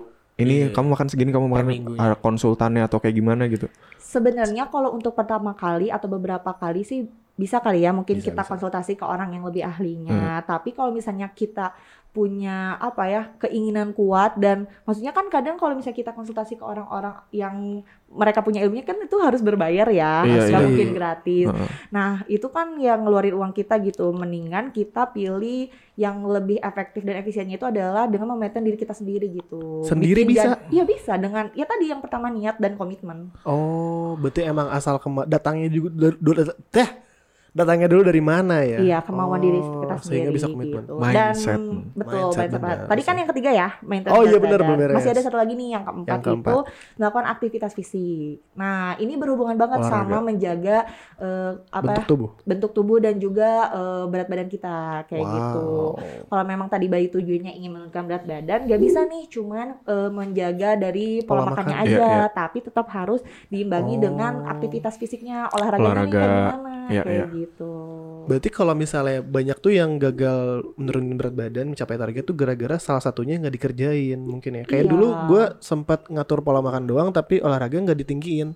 [SPEAKER 1] Iya.
[SPEAKER 2] ini kamu makan segini, kamu makan
[SPEAKER 1] minggunya.
[SPEAKER 2] ah, konsultannya atau kayak gimana gitu.
[SPEAKER 3] Sebenarnya kalau untuk pertama kali atau beberapa kali sih bisa kali ya mungkin
[SPEAKER 1] Bisa, Hmm.
[SPEAKER 3] kita
[SPEAKER 1] bisa.
[SPEAKER 3] konsultasi ke orang yang lebih ahlinya. Tapi kalau misalnya kita punya apa ya keinginan kuat dan maksudnya kan kadang kalau misalnya kita konsultasi ke orang-orang yang mereka punya ilmunya kan itu harus berbayar ya,
[SPEAKER 2] Iya,
[SPEAKER 3] nggak
[SPEAKER 2] iya.
[SPEAKER 3] mungkin gratis.
[SPEAKER 2] Heeh.
[SPEAKER 3] Nah, itu kan yang ngeluarin uang kita gitu. Mendingan kita pilih yang lebih efektif dan efisiennya itu adalah dengan memaintain diri kita sendiri gitu.
[SPEAKER 1] Sendiri
[SPEAKER 3] dan- Iya bisa dengan ya tadi yang pertama niat dan komitmen.
[SPEAKER 1] Oh, berarti emang asal kema- datangnya juga dar- dulu teh datangnya dulu dari mana ya?
[SPEAKER 3] Iya, kemauan diri kita
[SPEAKER 1] Oh,
[SPEAKER 3] sendiri
[SPEAKER 1] sehingga bisa komitmen.
[SPEAKER 3] gitu.
[SPEAKER 2] Mindset.
[SPEAKER 3] Dan betul
[SPEAKER 1] Mindset,
[SPEAKER 3] mindset.
[SPEAKER 1] benar.
[SPEAKER 3] Tadi kan yang ketiga ya, maintain
[SPEAKER 1] Oh,
[SPEAKER 3] berat
[SPEAKER 1] iya, benar,
[SPEAKER 3] badan.
[SPEAKER 1] beres.
[SPEAKER 3] Masih ada satu lagi nih yang keempat,
[SPEAKER 1] Yang keempat.
[SPEAKER 3] itu melakukan aktivitas fisik. Nah, ini berhubungan banget
[SPEAKER 1] Olahraga.
[SPEAKER 3] sama menjaga eh, apa
[SPEAKER 1] Bentuk tubuh.
[SPEAKER 3] bentuk tubuh dan juga eh, berat badan kita kayak gitu. Kalau memang tadi bayi tujuannya ingin menurunkan berat badan, gak bisa nih cuman eh, menjaga dari pola,
[SPEAKER 1] Pola
[SPEAKER 3] makannya
[SPEAKER 2] Hmm. makan.
[SPEAKER 3] aja,
[SPEAKER 2] Iya,
[SPEAKER 3] tapi tetap harus diimbangi
[SPEAKER 1] Oh.
[SPEAKER 3] dengan aktivitas fisiknya, olahraganya nih
[SPEAKER 2] Olahraga.
[SPEAKER 3] kayak gimana
[SPEAKER 2] Iya,
[SPEAKER 3] kayak
[SPEAKER 2] iya.
[SPEAKER 3] gitu.
[SPEAKER 1] Berarti kalau misalnya banyak tuh yang gagal menurunin berat badan, mencapai target tuh gara-gara salah satunya nggak dikerjain mungkin ya. Kayak
[SPEAKER 3] Iya.
[SPEAKER 1] dulu gue sempat ngatur pola makan doang, tapi olahraga nggak ditinggiin.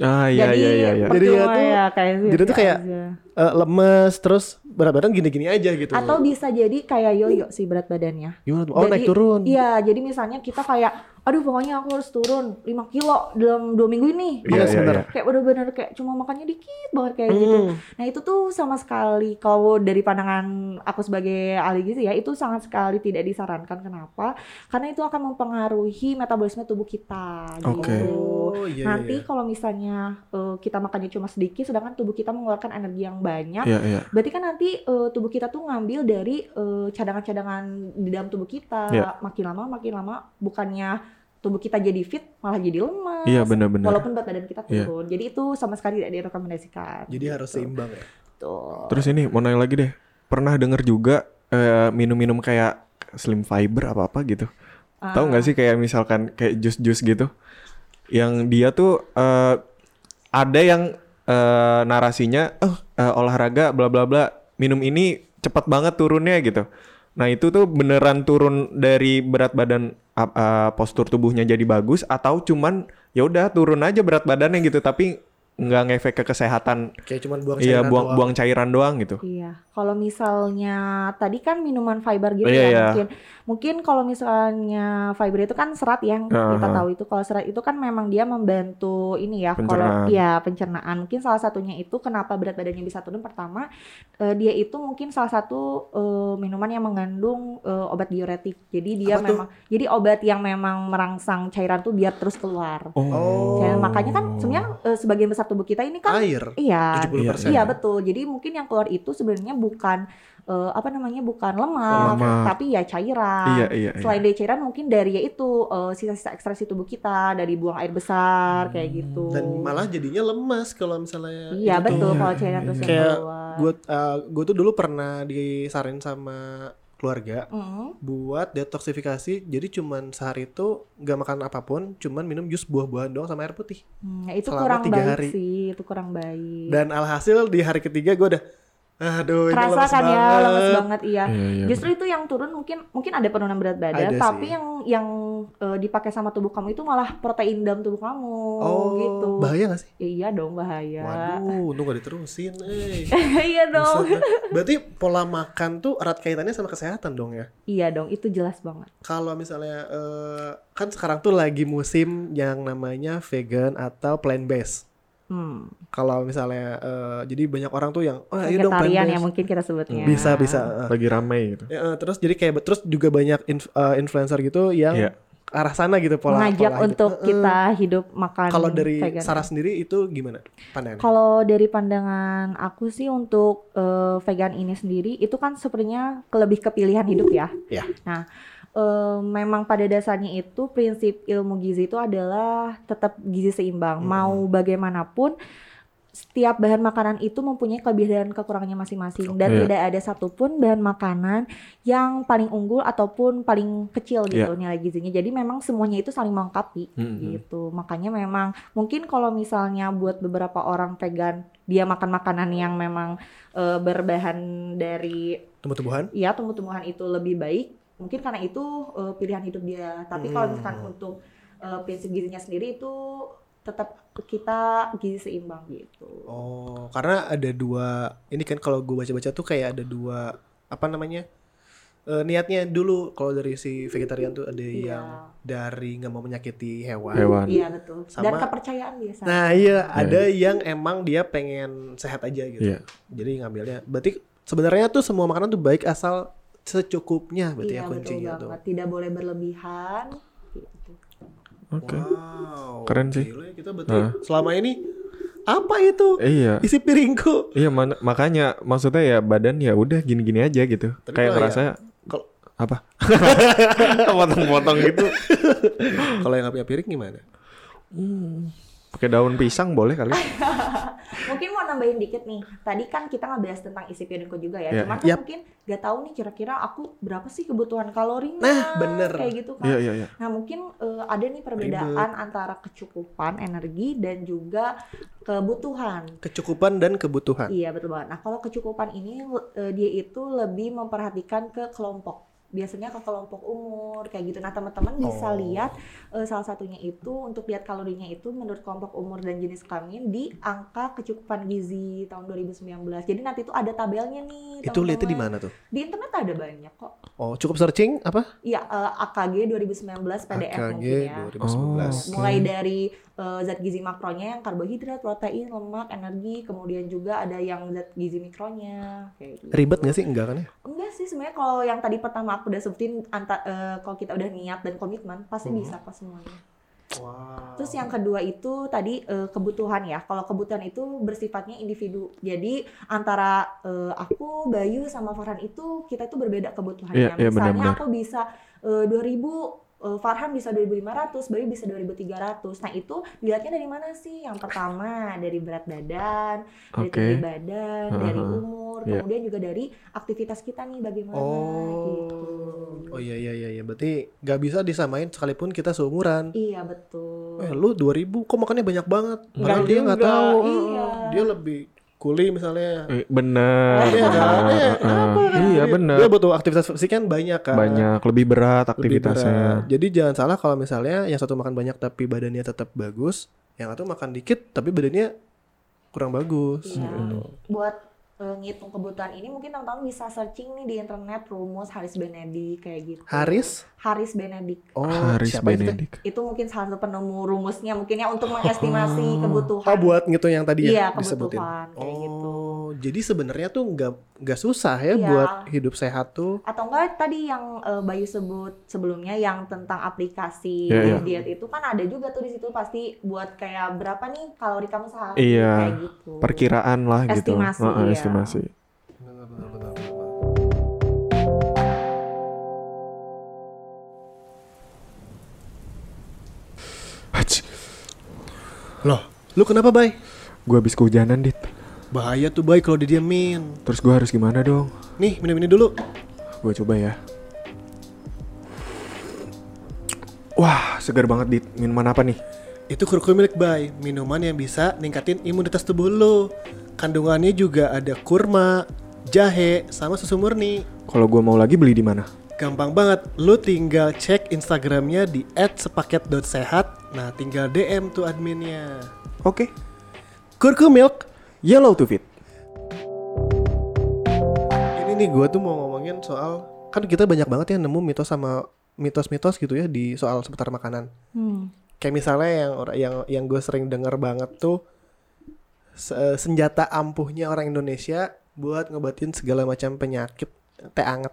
[SPEAKER 2] Ah iya iya
[SPEAKER 3] Jadi
[SPEAKER 2] iya iya.
[SPEAKER 1] Jadi ya
[SPEAKER 3] percuma
[SPEAKER 1] tuh-
[SPEAKER 3] ya, kayak
[SPEAKER 1] jadi tuh
[SPEAKER 3] gitu
[SPEAKER 1] kayak-
[SPEAKER 3] aja.
[SPEAKER 1] Eh, lemes, terus berat badan gini-gini aja gitu.
[SPEAKER 3] atau bisa jadi kayak yoyo sih berat badannya.
[SPEAKER 1] Gimana tuh? Oh
[SPEAKER 3] Jadi-
[SPEAKER 1] naik turun.
[SPEAKER 3] Iya, jadi misalnya kita kayak aduh pokoknya aku harus turun 5 kilo dalam dua minggu ini.
[SPEAKER 2] Iya,
[SPEAKER 3] Harus
[SPEAKER 2] iya,
[SPEAKER 1] sebentar.
[SPEAKER 2] iya.
[SPEAKER 3] Kayak bener-bener kayak cuma makannya dikit banget kayak gitu.
[SPEAKER 1] Hmm.
[SPEAKER 3] Nah itu tuh sama sekali kalau dari pandangan aku sebagai ahli gizi ya itu sangat sekali tidak disarankan kenapa? Karena itu akan mempengaruhi metabolisme tubuh kita
[SPEAKER 2] Oke.
[SPEAKER 3] gitu.
[SPEAKER 1] Oh, iya,
[SPEAKER 3] Nanti
[SPEAKER 1] iya.
[SPEAKER 3] kalau misalnya eh, kita makannya cuma sedikit, sedangkan tubuh kita mengeluarkan energi yang banyak,
[SPEAKER 2] Iya iya.
[SPEAKER 3] berarti kan nanti eh, tubuh kita tuh ngambil dari eh, cadangan-cadangan di dalam tubuh kita.
[SPEAKER 2] Iya.
[SPEAKER 3] Makin lama makin lama bukannya tubuh kita jadi fit malah jadi lemas.
[SPEAKER 2] Iya benar-benar.
[SPEAKER 3] Walaupun berat badan kita
[SPEAKER 2] Iya.
[SPEAKER 3] turun, jadi itu sama sekali tidak direkomendasikan.
[SPEAKER 1] Jadi harus
[SPEAKER 3] gitu.
[SPEAKER 1] seimbang ya.
[SPEAKER 3] Tuh.
[SPEAKER 2] Terus ini mau nanya lagi deh. Pernah denger juga eh, minum-minum kayak slim fiber apa-apa gitu. Tahu
[SPEAKER 1] Ah.
[SPEAKER 2] nggak sih kayak misalkan kayak jus-jus gitu. Yang dia tuh eh, ada yang eh, narasinya eh eh, olahraga bla bla bla, minum ini cepat banget turunnya gitu. Nah, itu tuh beneran turun dari berat badan ap- eh, postur tubuhnya jadi bagus atau cuman ya udah turun aja berat badannya gitu tapi nggak ngefek ke kesehatan
[SPEAKER 1] Kayak cuman buang
[SPEAKER 2] Iya
[SPEAKER 1] cairan
[SPEAKER 2] buang
[SPEAKER 1] doang.
[SPEAKER 2] buang cairan doang gitu.
[SPEAKER 3] Iya, kalau misalnya tadi kan minuman fiber gitu
[SPEAKER 2] Iya,
[SPEAKER 3] ya
[SPEAKER 2] iya.
[SPEAKER 3] mungkin. Mungkin kalau misalnya fiber itu kan serat yang kita
[SPEAKER 2] Aha.
[SPEAKER 3] tahu itu kalau serat itu kan memang dia membantu ini ya
[SPEAKER 2] Pencernaan.
[SPEAKER 3] kalau ya pencernaan. Mungkin salah satunya itu kenapa berat badannya bisa turun pertama eh, dia itu mungkin salah satu eh, minuman yang mengandung eh, obat diuretik. Jadi dia
[SPEAKER 1] Apa tuh?
[SPEAKER 3] memang jadi obat yang memang merangsang cairan tuh biar terus keluar.
[SPEAKER 1] Oh.
[SPEAKER 3] Cairan- makanya kan sebenarnya eh, sebagian besar tubuh kita ini kan
[SPEAKER 1] air.
[SPEAKER 3] iya
[SPEAKER 1] 70%.
[SPEAKER 3] Iya betul. Jadi mungkin yang keluar itu sebenarnya bukan eh, apa namanya bukan lemak,
[SPEAKER 2] Lemak.
[SPEAKER 3] tapi ya
[SPEAKER 2] Iya
[SPEAKER 3] cairan.
[SPEAKER 2] iya. iya.
[SPEAKER 3] Selain dari cairan mungkin dari ya itu eh, sisa-sisa ekstraksi tubuh kita dari buang air besar
[SPEAKER 2] Hmm.
[SPEAKER 3] kayak gitu.
[SPEAKER 1] Dan malah jadinya lemas kalau misalnya gitu.
[SPEAKER 3] Iya
[SPEAKER 1] itu ya, tuh.
[SPEAKER 3] betul
[SPEAKER 2] Iya,
[SPEAKER 3] kalau
[SPEAKER 2] iya,
[SPEAKER 3] cairan
[SPEAKER 2] iya.
[SPEAKER 3] terus yang
[SPEAKER 1] Kayak
[SPEAKER 3] keluar.
[SPEAKER 1] gue tuh dulu pernah disarin sama keluarga
[SPEAKER 3] Mm.
[SPEAKER 1] buat detoksifikasi jadi cuman sehari itu nggak makan apapun cuman minum jus buah-buahan doang sama air putih
[SPEAKER 3] Hmm, ya itu
[SPEAKER 1] Selama
[SPEAKER 3] kurang
[SPEAKER 1] tiga
[SPEAKER 3] baik
[SPEAKER 1] hari.
[SPEAKER 3] sih, itu kurang baik.
[SPEAKER 1] dan alhasil di hari ketiga gue udah aduh ini
[SPEAKER 3] Kerasa
[SPEAKER 1] lemes
[SPEAKER 3] kan ya
[SPEAKER 1] banget."
[SPEAKER 3] lemes banget iya.
[SPEAKER 2] Iya, iya,
[SPEAKER 3] Justru itu yang turun mungkin mungkin ada penurunan berat badan,
[SPEAKER 1] Ada
[SPEAKER 3] tapi
[SPEAKER 1] sih.
[SPEAKER 3] yang yang eh, dipakai sama tubuh kamu itu malah protein dalam tubuh kamu
[SPEAKER 1] oh
[SPEAKER 3] gitu.
[SPEAKER 1] bahaya gak sih
[SPEAKER 3] Ya, iya dong bahaya.
[SPEAKER 1] waduh untung gak diterusin eh.
[SPEAKER 3] iya dong.
[SPEAKER 1] Buset dah. berarti pola makan tuh erat kaitannya sama kesehatan dong ya
[SPEAKER 3] Iya dong, itu jelas banget.
[SPEAKER 1] kalau misalnya eh, kan sekarang tuh lagi musim yang namanya vegan atau plant based
[SPEAKER 3] Hmm.
[SPEAKER 1] kalau misalnya eh, jadi banyak orang tuh yang oh ayo dong plant
[SPEAKER 3] Vegetarian
[SPEAKER 1] based
[SPEAKER 3] ya mungkin kita sebutnya.
[SPEAKER 1] bisa bisa eh.
[SPEAKER 2] Lagi ramai gitu.
[SPEAKER 1] Ya, eh, terus jadi kayak terus juga banyak inf- eh, influencer gitu yang
[SPEAKER 2] Iya.
[SPEAKER 1] ke arah sana gitu pola
[SPEAKER 3] Mengajak
[SPEAKER 1] pola hidup.
[SPEAKER 3] untuk
[SPEAKER 1] Eh, eh.
[SPEAKER 3] kita hidup makan
[SPEAKER 1] kalau dari
[SPEAKER 3] vegan.
[SPEAKER 1] Sarah sendiri itu gimana pandangannya?
[SPEAKER 3] Kalau dari pandangan aku sih untuk eh, vegan ini sendiri itu kan sebenarnya ke- lebih kepilihan hidup ya.
[SPEAKER 1] Iya.
[SPEAKER 3] Nah, eh, memang pada dasarnya itu prinsip ilmu gizi itu adalah tetap gizi seimbang. Mau bagaimanapun setiap bahan makanan itu mempunyai kelebihan dan kekurangannya masing-masing dan
[SPEAKER 2] Oke.
[SPEAKER 3] tidak ada satupun bahan makanan yang paling unggul ataupun paling kecil gitu nilai gizinya. Jadi memang semuanya itu saling melengkapi
[SPEAKER 1] Mhm.
[SPEAKER 3] gitu. Makanya memang mungkin kalau misalnya buat beberapa orang vegan dia makan makanan yang memang eh, berbahan dari
[SPEAKER 1] tumbuh-tumbuhan
[SPEAKER 3] ya tumbuh-tumbuhan itu lebih baik mungkin karena itu eh, pilihan hidup dia tapi
[SPEAKER 1] Hmm.
[SPEAKER 3] kalau misalkan untuk eh, prinsip gizinya sendiri itu tetap kita gizi seimbang gitu
[SPEAKER 1] oh karena ada dua ini kan kalau gue baca-baca tuh kayak ada dua apa namanya eh, niatnya dulu kalau dari si vegetarian tuh ada yang
[SPEAKER 3] iya
[SPEAKER 1] dari nggak mau menyakiti hewan,
[SPEAKER 2] hewan
[SPEAKER 3] iya betul dan
[SPEAKER 1] Sama-
[SPEAKER 3] kepercayaan biasa
[SPEAKER 1] Nah iya ada yang emang dia pengen sehat aja gitu.
[SPEAKER 2] Iya.
[SPEAKER 1] Jadi ngambilnya. Berarti sebenarnya tuh semua makanan tuh baik asal secukupnya berarti
[SPEAKER 3] iya
[SPEAKER 1] ya
[SPEAKER 3] betul
[SPEAKER 1] kuncinya tuh.
[SPEAKER 3] banget tidak boleh berlebihan gitu.
[SPEAKER 2] oke
[SPEAKER 1] Wow.
[SPEAKER 2] Keren sih. Nah.
[SPEAKER 1] gila ya, kita berarti
[SPEAKER 2] Heeh.
[SPEAKER 1] selama ini apa itu
[SPEAKER 2] iya
[SPEAKER 1] isi piringku?
[SPEAKER 2] iya mana- makanya maksudnya ya badan ya udah gini-gini aja gitu
[SPEAKER 1] Tapi
[SPEAKER 2] kayak
[SPEAKER 1] kalau ya-
[SPEAKER 2] ngerasa
[SPEAKER 1] kalau-
[SPEAKER 2] apa potong-potong gitu
[SPEAKER 1] Kalau yang nggak punya piring gimana?
[SPEAKER 2] pakai daun pisang boleh kali
[SPEAKER 3] Ah. mungkin mau nambahin dikit nih tadi kan kita ngebahas tentang isi piringku juga ya
[SPEAKER 2] Iya.
[SPEAKER 3] cuman kan
[SPEAKER 1] Yap.
[SPEAKER 3] mungkin nggak tahu nih kira-kira aku berapa sih kebutuhan kalorinya
[SPEAKER 1] Nah, bener.
[SPEAKER 3] kayak gitu kan
[SPEAKER 2] iya iya iya
[SPEAKER 3] Nah mungkin eh, ada nih perbedaan antara kecukupan energi dan juga kebutuhan.
[SPEAKER 1] Kecukupan dan kebutuhan.
[SPEAKER 3] Iya betul banget. Nah kalau kecukupan ini eh, dia itu lebih memperhatikan ke kelompok. Biasanya ke kelompok umur kayak gitu. Nah teman-teman bisa
[SPEAKER 1] Oh.
[SPEAKER 3] lihat eh, salah satunya itu untuk lihat kalorinya itu menurut kelompok umur dan jenis kelamin di angka kecukupan gizi tahun 2019. Jadi nanti itu ada tabelnya nih.
[SPEAKER 1] itu lihatnya di
[SPEAKER 3] teman-teman.
[SPEAKER 1] mana tuh?
[SPEAKER 3] Di internet ada banyak kok.
[SPEAKER 1] Oh cukup searching apa?
[SPEAKER 3] Iya eh, AKG 2019 PDF
[SPEAKER 1] AKG
[SPEAKER 3] mungkin ya.
[SPEAKER 1] 2019.
[SPEAKER 2] Oh, Oke.
[SPEAKER 3] Mulai dari eh, zat gizi makronya yang karbohidrat, protein, lemak, energi, kemudian juga ada yang zat gizi mikronya. Kayak gitu.
[SPEAKER 1] Ribet nggak sih enggak kan ya?
[SPEAKER 3] Enggak sih sebenarnya kalau yang tadi pertama aku udah sebutin anta- eh, kalau kita udah niat dan komitmen
[SPEAKER 2] Mhm.
[SPEAKER 3] pasti bisa kok semuanya.
[SPEAKER 1] Wow.
[SPEAKER 3] Terus yang kedua itu tadi eh, kebutuhan ya. Kalau kebutuhan itu bersifatnya individu. Jadi antara eh, aku, Bayu sama Farhan itu kita itu berbeda
[SPEAKER 2] Iya,
[SPEAKER 3] kebutuhannya.
[SPEAKER 2] iya,
[SPEAKER 3] Misalnya
[SPEAKER 2] benar-benar.
[SPEAKER 3] aku bisa eh, 2000 eh, Farhan bisa 2500, Bayu bisa 2300. Nah, itu dilihatnya dari mana sih? Yang pertama dari berat badan, dari
[SPEAKER 2] Oke.
[SPEAKER 3] tinggi badan, dari
[SPEAKER 2] Aha.
[SPEAKER 3] umur,
[SPEAKER 2] Iya.
[SPEAKER 3] kemudian juga dari aktivitas kita nih bagaimana
[SPEAKER 1] Oh.
[SPEAKER 3] gitu.
[SPEAKER 1] Oh iya iya iya iya. berarti nggak bisa disamain sekalipun kita seumuran.
[SPEAKER 3] Iya, betul.
[SPEAKER 1] eh lu 2000 kok makannya banyak banget padahal
[SPEAKER 2] Enggak
[SPEAKER 1] dia nggak
[SPEAKER 2] juga,
[SPEAKER 1] tahu
[SPEAKER 3] iya.
[SPEAKER 1] dia lebih kuli misalnya
[SPEAKER 2] Eh, bener
[SPEAKER 1] Iya kan?
[SPEAKER 2] bener,
[SPEAKER 1] Eh,
[SPEAKER 2] eh, eh. iya
[SPEAKER 1] Dia-
[SPEAKER 2] bener
[SPEAKER 1] dia butuh aktivitas fisik kan banyak kan
[SPEAKER 2] banyak lebih berat
[SPEAKER 1] Lebih berat.
[SPEAKER 2] aktivitasnya
[SPEAKER 1] jadi jangan salah kalau misalnya yang satu makan banyak tapi badannya tetap bagus yang satu makan dikit tapi badannya kurang bagus
[SPEAKER 3] Iya.
[SPEAKER 1] gitu.
[SPEAKER 3] buat eh, ngitung kebutuhan ini mungkin teman-teman bisa searching nih di internet rumus Haris Benedict kayak gitu.
[SPEAKER 1] Haris
[SPEAKER 3] Haris Benedict
[SPEAKER 1] oh
[SPEAKER 2] Haris
[SPEAKER 1] siapa itu teh?
[SPEAKER 2] Benedik
[SPEAKER 3] itu mungkin salah satu penemu rumusnya mungkin ya untuk
[SPEAKER 2] Oh.
[SPEAKER 3] mengestimasi kebutuhan.
[SPEAKER 1] oh buat gitu yang tadi
[SPEAKER 3] Iya,
[SPEAKER 1] ya disebutin
[SPEAKER 3] kebutuhan kayak gitu.
[SPEAKER 1] oh jadi sebenarnya tuh nggak nggak susah ya
[SPEAKER 3] Iya.
[SPEAKER 1] buat hidup sehat tuh
[SPEAKER 3] Atau enggak tadi yang eh, Bayu sebut sebelumnya yang tentang aplikasi
[SPEAKER 2] Iya, iya.
[SPEAKER 3] diet itu kan ada juga tuh di situ pasti buat kayak berapa nih kalori kamu sehari
[SPEAKER 2] Iya,
[SPEAKER 3] kayak gitu.
[SPEAKER 2] perkiraan lah gitu
[SPEAKER 3] Estimasi,
[SPEAKER 2] Heeh,
[SPEAKER 3] iya.
[SPEAKER 2] estimasi
[SPEAKER 1] Benar, benar, benar, benar, benar. Loh, lu kenapa, Bay?
[SPEAKER 2] gue habis kehujanan dit
[SPEAKER 1] Bahaya tuh, Bay, kalau didiemin.
[SPEAKER 2] terus gue harus gimana dong
[SPEAKER 1] Nih, minum ini dulu.
[SPEAKER 2] Gue coba ya. Wah, segar banget, Dit. Minuman apa nih?
[SPEAKER 1] Itu kurkuma milik Bay, minuman yang bisa ningkatin imunitas tubuh lu. Kandungannya juga ada kurma, jahe, sama susu murni.
[SPEAKER 2] Kalau gua mau lagi beli di mana?
[SPEAKER 1] Gampang banget, lu tinggal cek Instagramnya di @sepaket.sehat. Nah, tinggal DM tuh adminnya.
[SPEAKER 2] Oke,
[SPEAKER 1] Kurku Milk
[SPEAKER 2] Yellow to Fit.
[SPEAKER 1] Ini nih gue tuh mau ngomongin soal kan kita banyak banget yang nemu mitos sama mitos-mitos gitu ya di soal seputar makanan.
[SPEAKER 3] Hmm.
[SPEAKER 1] Kayak misalnya yang orang yang yang gue sering dengar banget tuh se- eh, senjata ampuhnya orang Indonesia buat ngebatin segala macam penyakit teh anget.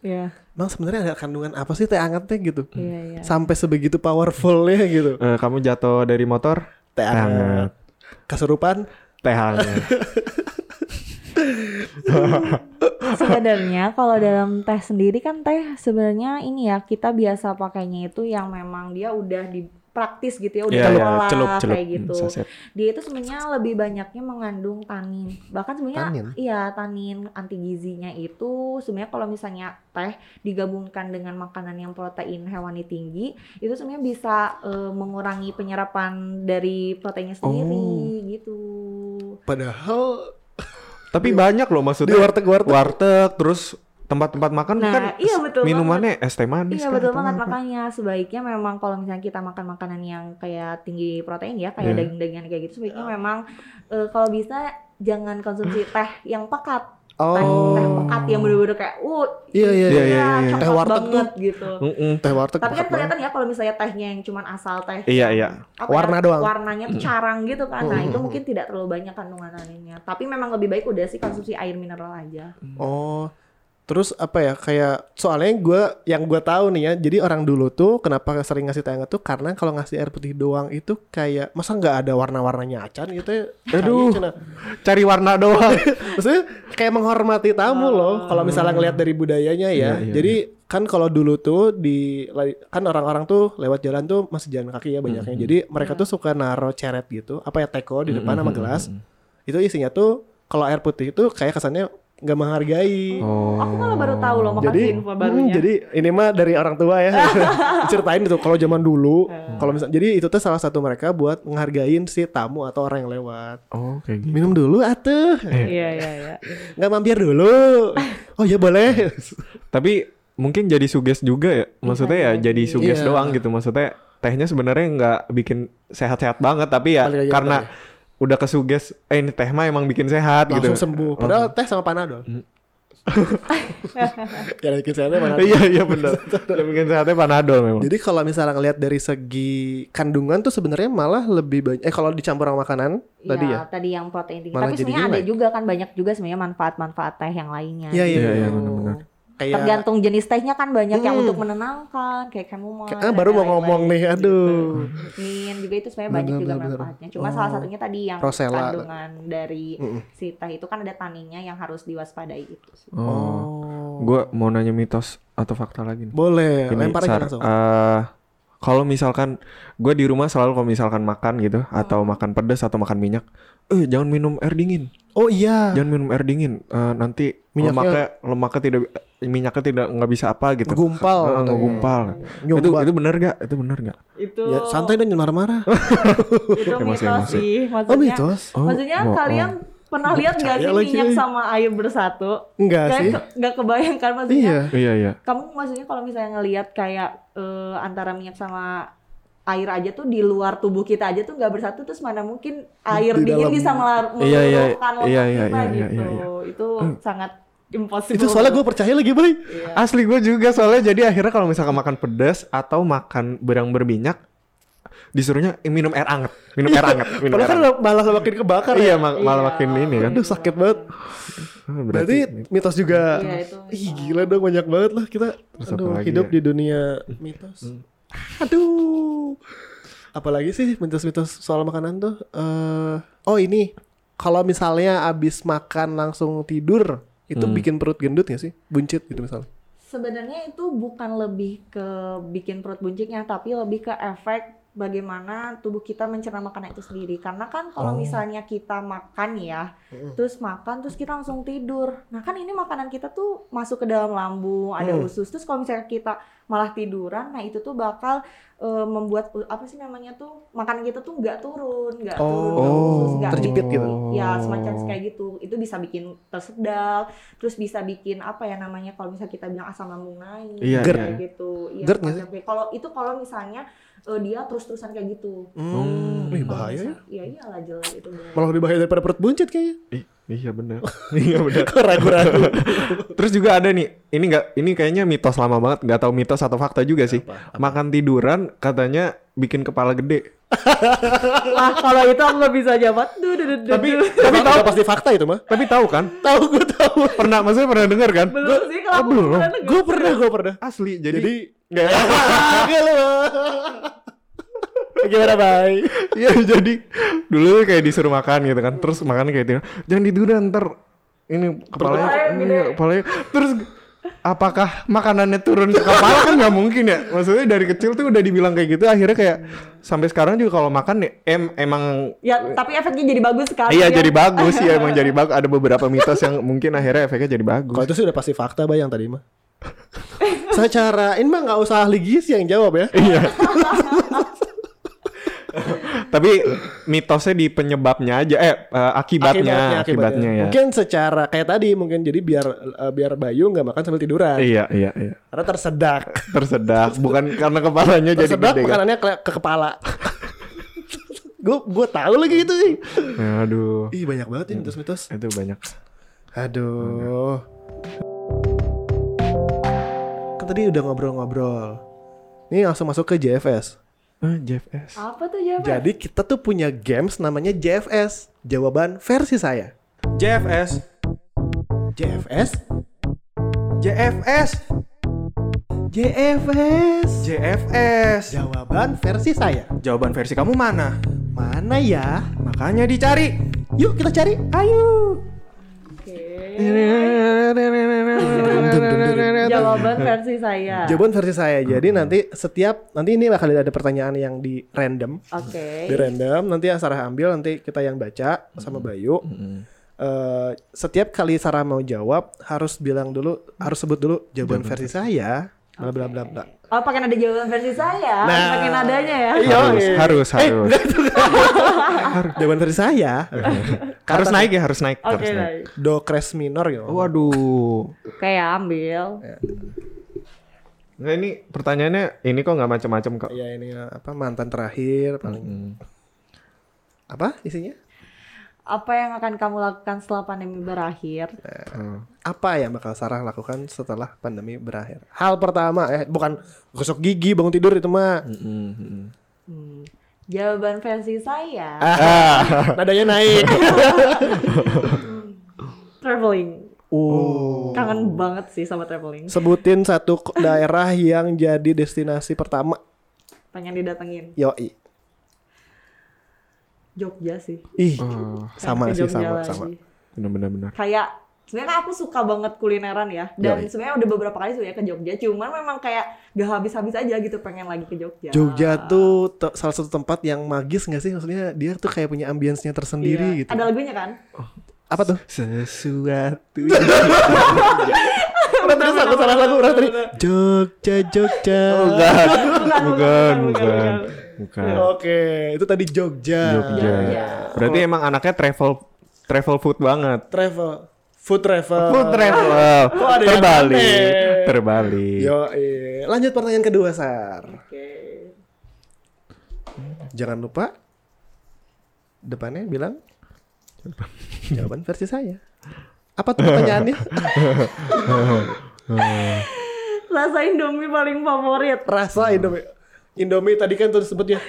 [SPEAKER 3] Iya,
[SPEAKER 1] Emang sebenarnya ada kandungan apa sih teh anget teh gitu?
[SPEAKER 2] Hmm.
[SPEAKER 3] iya, iya.
[SPEAKER 1] Sampai sebegitu powerfulnya gitu.
[SPEAKER 2] Eh, kamu jatuh dari motor?
[SPEAKER 1] Teh anget.
[SPEAKER 2] Hangat.
[SPEAKER 1] Kesurupan?
[SPEAKER 2] Teh hangat.
[SPEAKER 3] sebenarnya kalau dalam teh sendiri kan teh sebenarnya ini ya kita biasa pakainya itu yang memang dia udah di praktis gitu ya udah
[SPEAKER 2] Iya, iya,
[SPEAKER 3] diolah
[SPEAKER 2] celup, celup.
[SPEAKER 3] kayak gitu.
[SPEAKER 2] Hmm, saset.
[SPEAKER 3] Dia itu sebenarnya lebih banyaknya mengandung tanin. Bahkan sebenarnya
[SPEAKER 1] Tanin?
[SPEAKER 3] iya tanin anti gizinya itu sebenarnya kalau misalnya teh digabungkan dengan makanan yang protein hewani tinggi itu sebenarnya bisa eh, mengurangi penyerapan dari proteinnya sendiri gitu.
[SPEAKER 1] Padahal
[SPEAKER 2] Tapi banyak loh
[SPEAKER 1] di
[SPEAKER 2] maksudnya.
[SPEAKER 1] warteg-warteg
[SPEAKER 2] Warteg, terus tempat-tempat makan
[SPEAKER 3] Nah,
[SPEAKER 2] kan
[SPEAKER 3] iya, betul
[SPEAKER 2] minumannya es teh manis
[SPEAKER 3] Iya
[SPEAKER 2] kan
[SPEAKER 3] betul
[SPEAKER 2] atau
[SPEAKER 3] banget
[SPEAKER 2] apa.
[SPEAKER 3] makanya sebaiknya memang kalau misalnya kita makan makanan yang kayak tinggi protein ya kayak
[SPEAKER 2] Iya.
[SPEAKER 3] daging-dagingan kayak gitu sebaiknya memang eh, kalau bisa jangan konsumsi teh yang pekat teh, teh
[SPEAKER 1] Oh,
[SPEAKER 3] pekat yang bener-bener kayak uh
[SPEAKER 1] Iya, iya,
[SPEAKER 2] iya, iya, iya.
[SPEAKER 3] coklat
[SPEAKER 1] Teh warteg
[SPEAKER 3] banget gitu
[SPEAKER 2] Mm-mm.
[SPEAKER 1] teh warteg
[SPEAKER 3] tapi kan
[SPEAKER 1] banget.
[SPEAKER 3] kelihatan ya kalau misalnya tehnya yang cuman asal teh
[SPEAKER 2] Iya, iya.
[SPEAKER 3] apa ya,
[SPEAKER 1] Warna doang.
[SPEAKER 3] warnanya tuh carang gitu kan nah
[SPEAKER 1] Mm.
[SPEAKER 3] itu mungkin tidak terlalu banyak kandungan taninnya tapi memang lebih baik udah sih konsumsi air mineral aja
[SPEAKER 2] Hmm.
[SPEAKER 1] Oh, terus apa ya? Kayak soalnya gue yang gue tahu nih ya. Jadi orang dulu tuh kenapa sering ngasih teh anget tuh karena kalau ngasih air putih doang itu kayak masa nggak ada warna-warnanya acan gitu ya? Kayaknya
[SPEAKER 2] Aduh.
[SPEAKER 1] cina.
[SPEAKER 2] Cari warna doang.
[SPEAKER 1] Maksudnya kayak menghormati tamu loh. Kalau misalnya ngelihat dari budayanya ya.
[SPEAKER 2] Iya, iya,
[SPEAKER 1] Jadi kan kalau dulu tuh di kan orang-orang tuh lewat jalan tuh masih jalan kaki ya banyaknya. Jadi mereka tuh suka naro ceret gitu, apa ya teko di depan sama gelas. Itu isinya tuh kalau air putih itu kayak kesannya nggak menghargai.
[SPEAKER 3] aku malah baru tahu loh makasih
[SPEAKER 1] Oh. Jadi,
[SPEAKER 3] info
[SPEAKER 1] hmm,
[SPEAKER 3] barunya
[SPEAKER 1] jadi ini mah dari orang tua ya. Ceritain itu kalau zaman dulu,
[SPEAKER 3] Eh.
[SPEAKER 1] kalau misal jadi itu tuh salah satu mereka buat menghargain si tamu atau orang yang lewat.
[SPEAKER 2] Oh, kayak gitu.
[SPEAKER 1] Minum dulu atuh,
[SPEAKER 3] iya iya iya
[SPEAKER 1] nggak mampir dulu. Oh ya boleh.
[SPEAKER 2] Tapi mungkin jadi suges
[SPEAKER 3] Iya,
[SPEAKER 2] juga ya. Maksudnya ya jadi suges
[SPEAKER 1] Iya.
[SPEAKER 2] doang gitu. Maksudnya tehnya sebenarnya nggak bikin sehat-sehat banget tapi ya
[SPEAKER 1] Balik lagi ke
[SPEAKER 2] karena udah kesuges eh ini teh mah emang bikin sehat
[SPEAKER 1] Langsung
[SPEAKER 2] gitu. Hmm.
[SPEAKER 1] sembuh. Padahal teh sama panadol. ya bikin sehatnya panadol.
[SPEAKER 2] Iya iya benar. Yang bikin sehatnya panadol memang.
[SPEAKER 1] Jadi kalau misalnya ngelihat dari segi kandungan tuh sebenarnya malah lebih banyak. Eh kalau dicampur sama makanan
[SPEAKER 3] Iya.
[SPEAKER 1] tadi ya.
[SPEAKER 3] tadi yang protein tinggi.
[SPEAKER 1] Malah
[SPEAKER 3] Tapi
[SPEAKER 1] jadi
[SPEAKER 3] sebenarnya ada
[SPEAKER 1] jelek.
[SPEAKER 3] juga kan banyak juga sebenarnya manfaat-manfaat teh yang lainnya.
[SPEAKER 1] Iya iya
[SPEAKER 2] Iya, iya,
[SPEAKER 1] benar-benar. Kayak
[SPEAKER 3] Tergantung jenis tehnya kan banyak yang
[SPEAKER 1] Hmm.
[SPEAKER 3] untuk menenangkan, kayak kamu
[SPEAKER 1] Kayak- ah, baru mau ngomong nih, aduh.
[SPEAKER 3] Min juga itu sebenarnya
[SPEAKER 1] Bener,
[SPEAKER 3] banyak juga
[SPEAKER 1] bener, bener.
[SPEAKER 3] manfaatnya. Cuma
[SPEAKER 1] Oh.
[SPEAKER 3] salah satunya tadi yang
[SPEAKER 1] Rosella.
[SPEAKER 3] kandungan dari
[SPEAKER 1] Mm-mm.
[SPEAKER 3] si teh itu kan ada taninnya yang harus diwaspadai itu.
[SPEAKER 2] Oh.
[SPEAKER 1] Oh.
[SPEAKER 2] Gue mau nanya mitos atau fakta lagi nih.
[SPEAKER 1] Boleh,
[SPEAKER 2] Ini,
[SPEAKER 1] lempar aja
[SPEAKER 2] Sar,
[SPEAKER 1] langsung.
[SPEAKER 2] eh, kalau misalkan gue di rumah selalu kalau misalkan makan gitu
[SPEAKER 1] Hmm.
[SPEAKER 2] atau makan pedas atau makan minyak, eh jangan minum air dingin,
[SPEAKER 1] oh iya.
[SPEAKER 2] jangan minum air dingin. Eh, nanti
[SPEAKER 1] Minyaknya-
[SPEAKER 2] lemaknya lemaknya tidak minyaknya tidak nggak bisa apa gitu.
[SPEAKER 1] Gumpal.
[SPEAKER 2] Eh, ngegumpal. Itu
[SPEAKER 1] Nyumbat.
[SPEAKER 2] itu benar gak? Itu benar gak?
[SPEAKER 3] Itu
[SPEAKER 1] Ya, santai dan jangan marah-marah.
[SPEAKER 3] itu
[SPEAKER 2] Emosi, mitos emosi.
[SPEAKER 3] sih.
[SPEAKER 1] oh mitos?
[SPEAKER 2] Oh,
[SPEAKER 3] Maksudnya
[SPEAKER 2] bohong.
[SPEAKER 3] kalian pernah lihat nggak sih
[SPEAKER 1] Percaya lagi,
[SPEAKER 3] minyak
[SPEAKER 1] eh.
[SPEAKER 3] sama air bersatu?
[SPEAKER 1] Enggak sih.
[SPEAKER 3] Kayak nggak kebayangkan maksudnya.
[SPEAKER 1] Iya.
[SPEAKER 2] Iya iya.
[SPEAKER 3] kamu maksudnya kalau misalnya ngelihat kayak eh, antara minyak sama air aja tuh di luar tubuh kita aja tuh nggak bersatu terus mana mungkin air
[SPEAKER 1] Di
[SPEAKER 3] dingin
[SPEAKER 1] dalam.
[SPEAKER 3] bisa melar-
[SPEAKER 2] Iya, iya,
[SPEAKER 3] meluluhkan otak
[SPEAKER 2] iya, iya,
[SPEAKER 3] kita
[SPEAKER 2] iya, iya,
[SPEAKER 3] gitu
[SPEAKER 2] iya.
[SPEAKER 3] itu sangat impossible
[SPEAKER 1] Eh, Itu soalnya gue percaya lagi, Beli.
[SPEAKER 2] Asli gue juga soalnya jadi akhirnya kalau misalkan makan pedas atau makan berang berminyak disuruhnya "Eh, minum air anget, minum air anget, minum
[SPEAKER 1] Padahal
[SPEAKER 2] air
[SPEAKER 1] kan
[SPEAKER 2] anget.
[SPEAKER 1] malah makin kebakar ya.
[SPEAKER 2] Iya, mak- malah
[SPEAKER 3] Iya.
[SPEAKER 2] makin ini kan.
[SPEAKER 1] Aduh sakit banget.
[SPEAKER 2] Ah,
[SPEAKER 1] Berarti mitos juga.
[SPEAKER 3] Iya, itu mitos.
[SPEAKER 1] Ih, gila dong banyak banget lah kita
[SPEAKER 2] Terus apa
[SPEAKER 1] aduh,
[SPEAKER 2] lagi
[SPEAKER 1] hidup
[SPEAKER 2] ya?
[SPEAKER 1] di dunia mitos. Aduh. Apalagi sih mitos-mitos soal makanan tuh. eh oh ini kalau misalnya abis makan langsung tidur itu bikin perut gendut gak sih? Buncit gitu misalnya.
[SPEAKER 3] sebenarnya itu bukan lebih ke bikin perut buncitnya tapi lebih ke efek bagaimana tubuh kita mencerna makanan itu sendiri karena kan
[SPEAKER 1] Oh.
[SPEAKER 3] kalau misalnya kita makan ya terus makan terus kita langsung tidur nah kan ini makanan kita tuh masuk ke dalam lambung ada
[SPEAKER 1] Mm.
[SPEAKER 3] usus terus kalau misalnya kita malah tiduran nah itu tuh bakal eh, membuat u- apa sih namanya tuh makanan kita tuh nggak turun nggak turun ke
[SPEAKER 1] Oh,
[SPEAKER 3] usus nggak
[SPEAKER 1] terjepit
[SPEAKER 3] turun.
[SPEAKER 1] gitu.
[SPEAKER 3] ya semacam kayak gitu itu bisa bikin tersedak terus bisa bikin apa ya namanya kalau misalnya kita bilang asam lambung naik
[SPEAKER 2] Iya,
[SPEAKER 3] kayak
[SPEAKER 2] iya.
[SPEAKER 3] gitu iya
[SPEAKER 1] GERD nggak
[SPEAKER 3] semacam kayak- kalau itu kalau misalnya eh, dia terus-terusan kayak gitu
[SPEAKER 1] Hmm, Ih, bahaya ya.
[SPEAKER 3] iya iyalah jelas itu bener.
[SPEAKER 1] Malah lebih bahaya daripada perut buncit kayaknya.
[SPEAKER 2] Ih, iya benar. iya benar.
[SPEAKER 1] Kok ragu-ragu.
[SPEAKER 2] Terus juga ada nih, ini nggak, ini kayaknya mitos lama banget, nggak tahu mitos atau fakta juga sih. Makan tiduran katanya bikin kepala gede.
[SPEAKER 3] wah kalau itu aku nggak bisa jawab duh, duh, duh, duh,
[SPEAKER 2] Tapi
[SPEAKER 3] duh.
[SPEAKER 2] tapi tahu,
[SPEAKER 1] Udah pasti fakta itu mah.
[SPEAKER 2] tapi tahu kan?
[SPEAKER 1] Tahu gue tahu.
[SPEAKER 2] Pernah, maksudnya pernah dengar kan?
[SPEAKER 3] belum sih kalau aku
[SPEAKER 2] belum.
[SPEAKER 3] beneran nggak-
[SPEAKER 1] Gue pernah, gue pernah.
[SPEAKER 2] Asli, jadi,
[SPEAKER 1] Jadi
[SPEAKER 2] nggak
[SPEAKER 1] Kagak lu. Gimana, Bay?
[SPEAKER 2] Iya jadi dulu kayak disuruh makan gitu kan, terus gitu ya. makan kayak tidur. Jangan tiduran ntar ini kepalanya ini kepalanya terus apakah makanannya turun ke kepala kan nggak mungkin ya maksudnya dari kecil tuh udah dibilang kayak gitu akhirnya kayak sampai sekarang juga kalau makan ya em emang
[SPEAKER 3] Ya, tapi efeknya jadi bagus sekali.
[SPEAKER 2] iya
[SPEAKER 3] ya.
[SPEAKER 2] jadi bagus ya emang jadi bagus ada beberapa mitos yang mungkin akhirnya efeknya jadi bagus
[SPEAKER 1] Kalau itu sih udah pasti fakta bayang tadi mah. Secara ini mah nggak usah ahli gizi yang jawab ya.
[SPEAKER 2] Iya, tapi mitosnya di penyebabnya aja eh eh, akibatnya akibatnya, ya
[SPEAKER 1] Mungkin secara kayak tadi mungkin jadi biar eh, biar Bayu nggak makan sambil tiduran.
[SPEAKER 2] iya iya iya
[SPEAKER 1] Karena tersedak.
[SPEAKER 2] tersedak bukan karena kepalanya jadi
[SPEAKER 1] tersedak
[SPEAKER 2] gede kan
[SPEAKER 1] makanannya ke, ke kepala. gue gue tahu lagi itu sih.
[SPEAKER 2] Ya, aduh
[SPEAKER 1] Ih banyak banget ini mitos-mitos.
[SPEAKER 2] itu banyak
[SPEAKER 1] Aduh. Kan tadi udah ngobrol-ngobrol. Nih langsung masuk ke JFS.
[SPEAKER 2] ah JFS
[SPEAKER 3] Apa tuh jawaban?
[SPEAKER 1] Jadi kita tuh punya games namanya JFS. Jawaban versi saya.
[SPEAKER 2] JFS
[SPEAKER 1] JFS?
[SPEAKER 2] JFS
[SPEAKER 1] JFS.
[SPEAKER 2] JFS
[SPEAKER 1] Jawaban versi saya.
[SPEAKER 2] jawaban versi kamu mana
[SPEAKER 1] Mana ya?
[SPEAKER 2] makanya dicari
[SPEAKER 1] Yuk kita cari. Ayo.
[SPEAKER 3] Jawaban versi saya.
[SPEAKER 1] Jawaban versi saya. Jadi nanti setiap nanti ini bakal ada pertanyaan yang di random.
[SPEAKER 3] Oke.
[SPEAKER 1] Di random nanti yang Sarah ambil nanti kita yang baca sama Bayu. Eh, setiap kali Sarah mau jawab harus bilang dulu harus sebut dulu jawaban versi saya. Bla bla bla bla.
[SPEAKER 3] Oh, pakai nada jawaban versi saya. Pakai nadanya ya.
[SPEAKER 2] harus
[SPEAKER 1] Iya.
[SPEAKER 2] harus harus
[SPEAKER 1] Jawaban versi saya.
[SPEAKER 2] harus naik ya harus naik
[SPEAKER 3] Oke,
[SPEAKER 2] harus naik
[SPEAKER 3] baik.
[SPEAKER 1] Do cres minor yo.
[SPEAKER 2] waduh
[SPEAKER 3] Oke, ambil.
[SPEAKER 2] Nah ini pertanyaannya ini kok nggak macam-macam kok.
[SPEAKER 1] Ya ini apa mantan terakhir paling. Apa isinya?
[SPEAKER 3] Apa yang akan kamu lakukan setelah pandemi berakhir?
[SPEAKER 1] apa yang bakal Sarah lakukan setelah pandemi berakhir? Hal pertama eh bukan gosok gigi bangun tidur itu mah.
[SPEAKER 2] hmm,
[SPEAKER 3] Hmm. Jawaban versi saya.
[SPEAKER 1] Ah, nadanya naik.
[SPEAKER 3] Traveling.
[SPEAKER 1] Oh.
[SPEAKER 3] Kangen banget sih sama traveling.
[SPEAKER 1] Sebutin satu ko- daerah yang jadi destinasi pertama.
[SPEAKER 3] Pengen didatengin.
[SPEAKER 1] Yoi.
[SPEAKER 3] Jogja sih.
[SPEAKER 1] Ih,
[SPEAKER 2] Oh,
[SPEAKER 1] sama
[SPEAKER 3] Pengen ke
[SPEAKER 1] sih
[SPEAKER 3] Jogja
[SPEAKER 1] sama
[SPEAKER 3] lagi.
[SPEAKER 1] sama.
[SPEAKER 2] benar-benar.
[SPEAKER 3] Kayak sebenarnya aku suka banget kulineran ya. Dan sebenarnya udah beberapa kali sudah ke Jogja. Cuman memang kayak gak habis-habis aja gitu pengen lagi ke Jogja.
[SPEAKER 1] Jogja tuh te- salah satu tempat yang magis gak sih? Maksudnya dia tuh kayak punya ambience-nya tersendiri
[SPEAKER 3] Iya.
[SPEAKER 1] gitu.
[SPEAKER 3] Ada lagunya kan?
[SPEAKER 1] Apa tuh?
[SPEAKER 2] Sesuatu.
[SPEAKER 1] Udah terus aku salah lagu udah tadi. Oh, Jogja Jogja.
[SPEAKER 3] bukan,
[SPEAKER 2] bukan, bukan, bukan.
[SPEAKER 1] Iya. Oke, itu tadi Jogja.
[SPEAKER 2] Jogja. Berarti emang anaknya travel travel food banget.
[SPEAKER 1] Travel, food travel.
[SPEAKER 2] Food travel.
[SPEAKER 1] ada yang
[SPEAKER 2] terbalik,
[SPEAKER 1] aneh?
[SPEAKER 2] terbalik.
[SPEAKER 1] Yo, lanjut pertanyaan kedua Sar.
[SPEAKER 3] Oke.
[SPEAKER 1] Jangan lupa depannya bilang jawaban versi saya. Apa tuh pertanyaannya?
[SPEAKER 3] Rasa Indomie paling favorit.
[SPEAKER 1] Rasa Indomie. Indomie tadi kan tuh disebut ya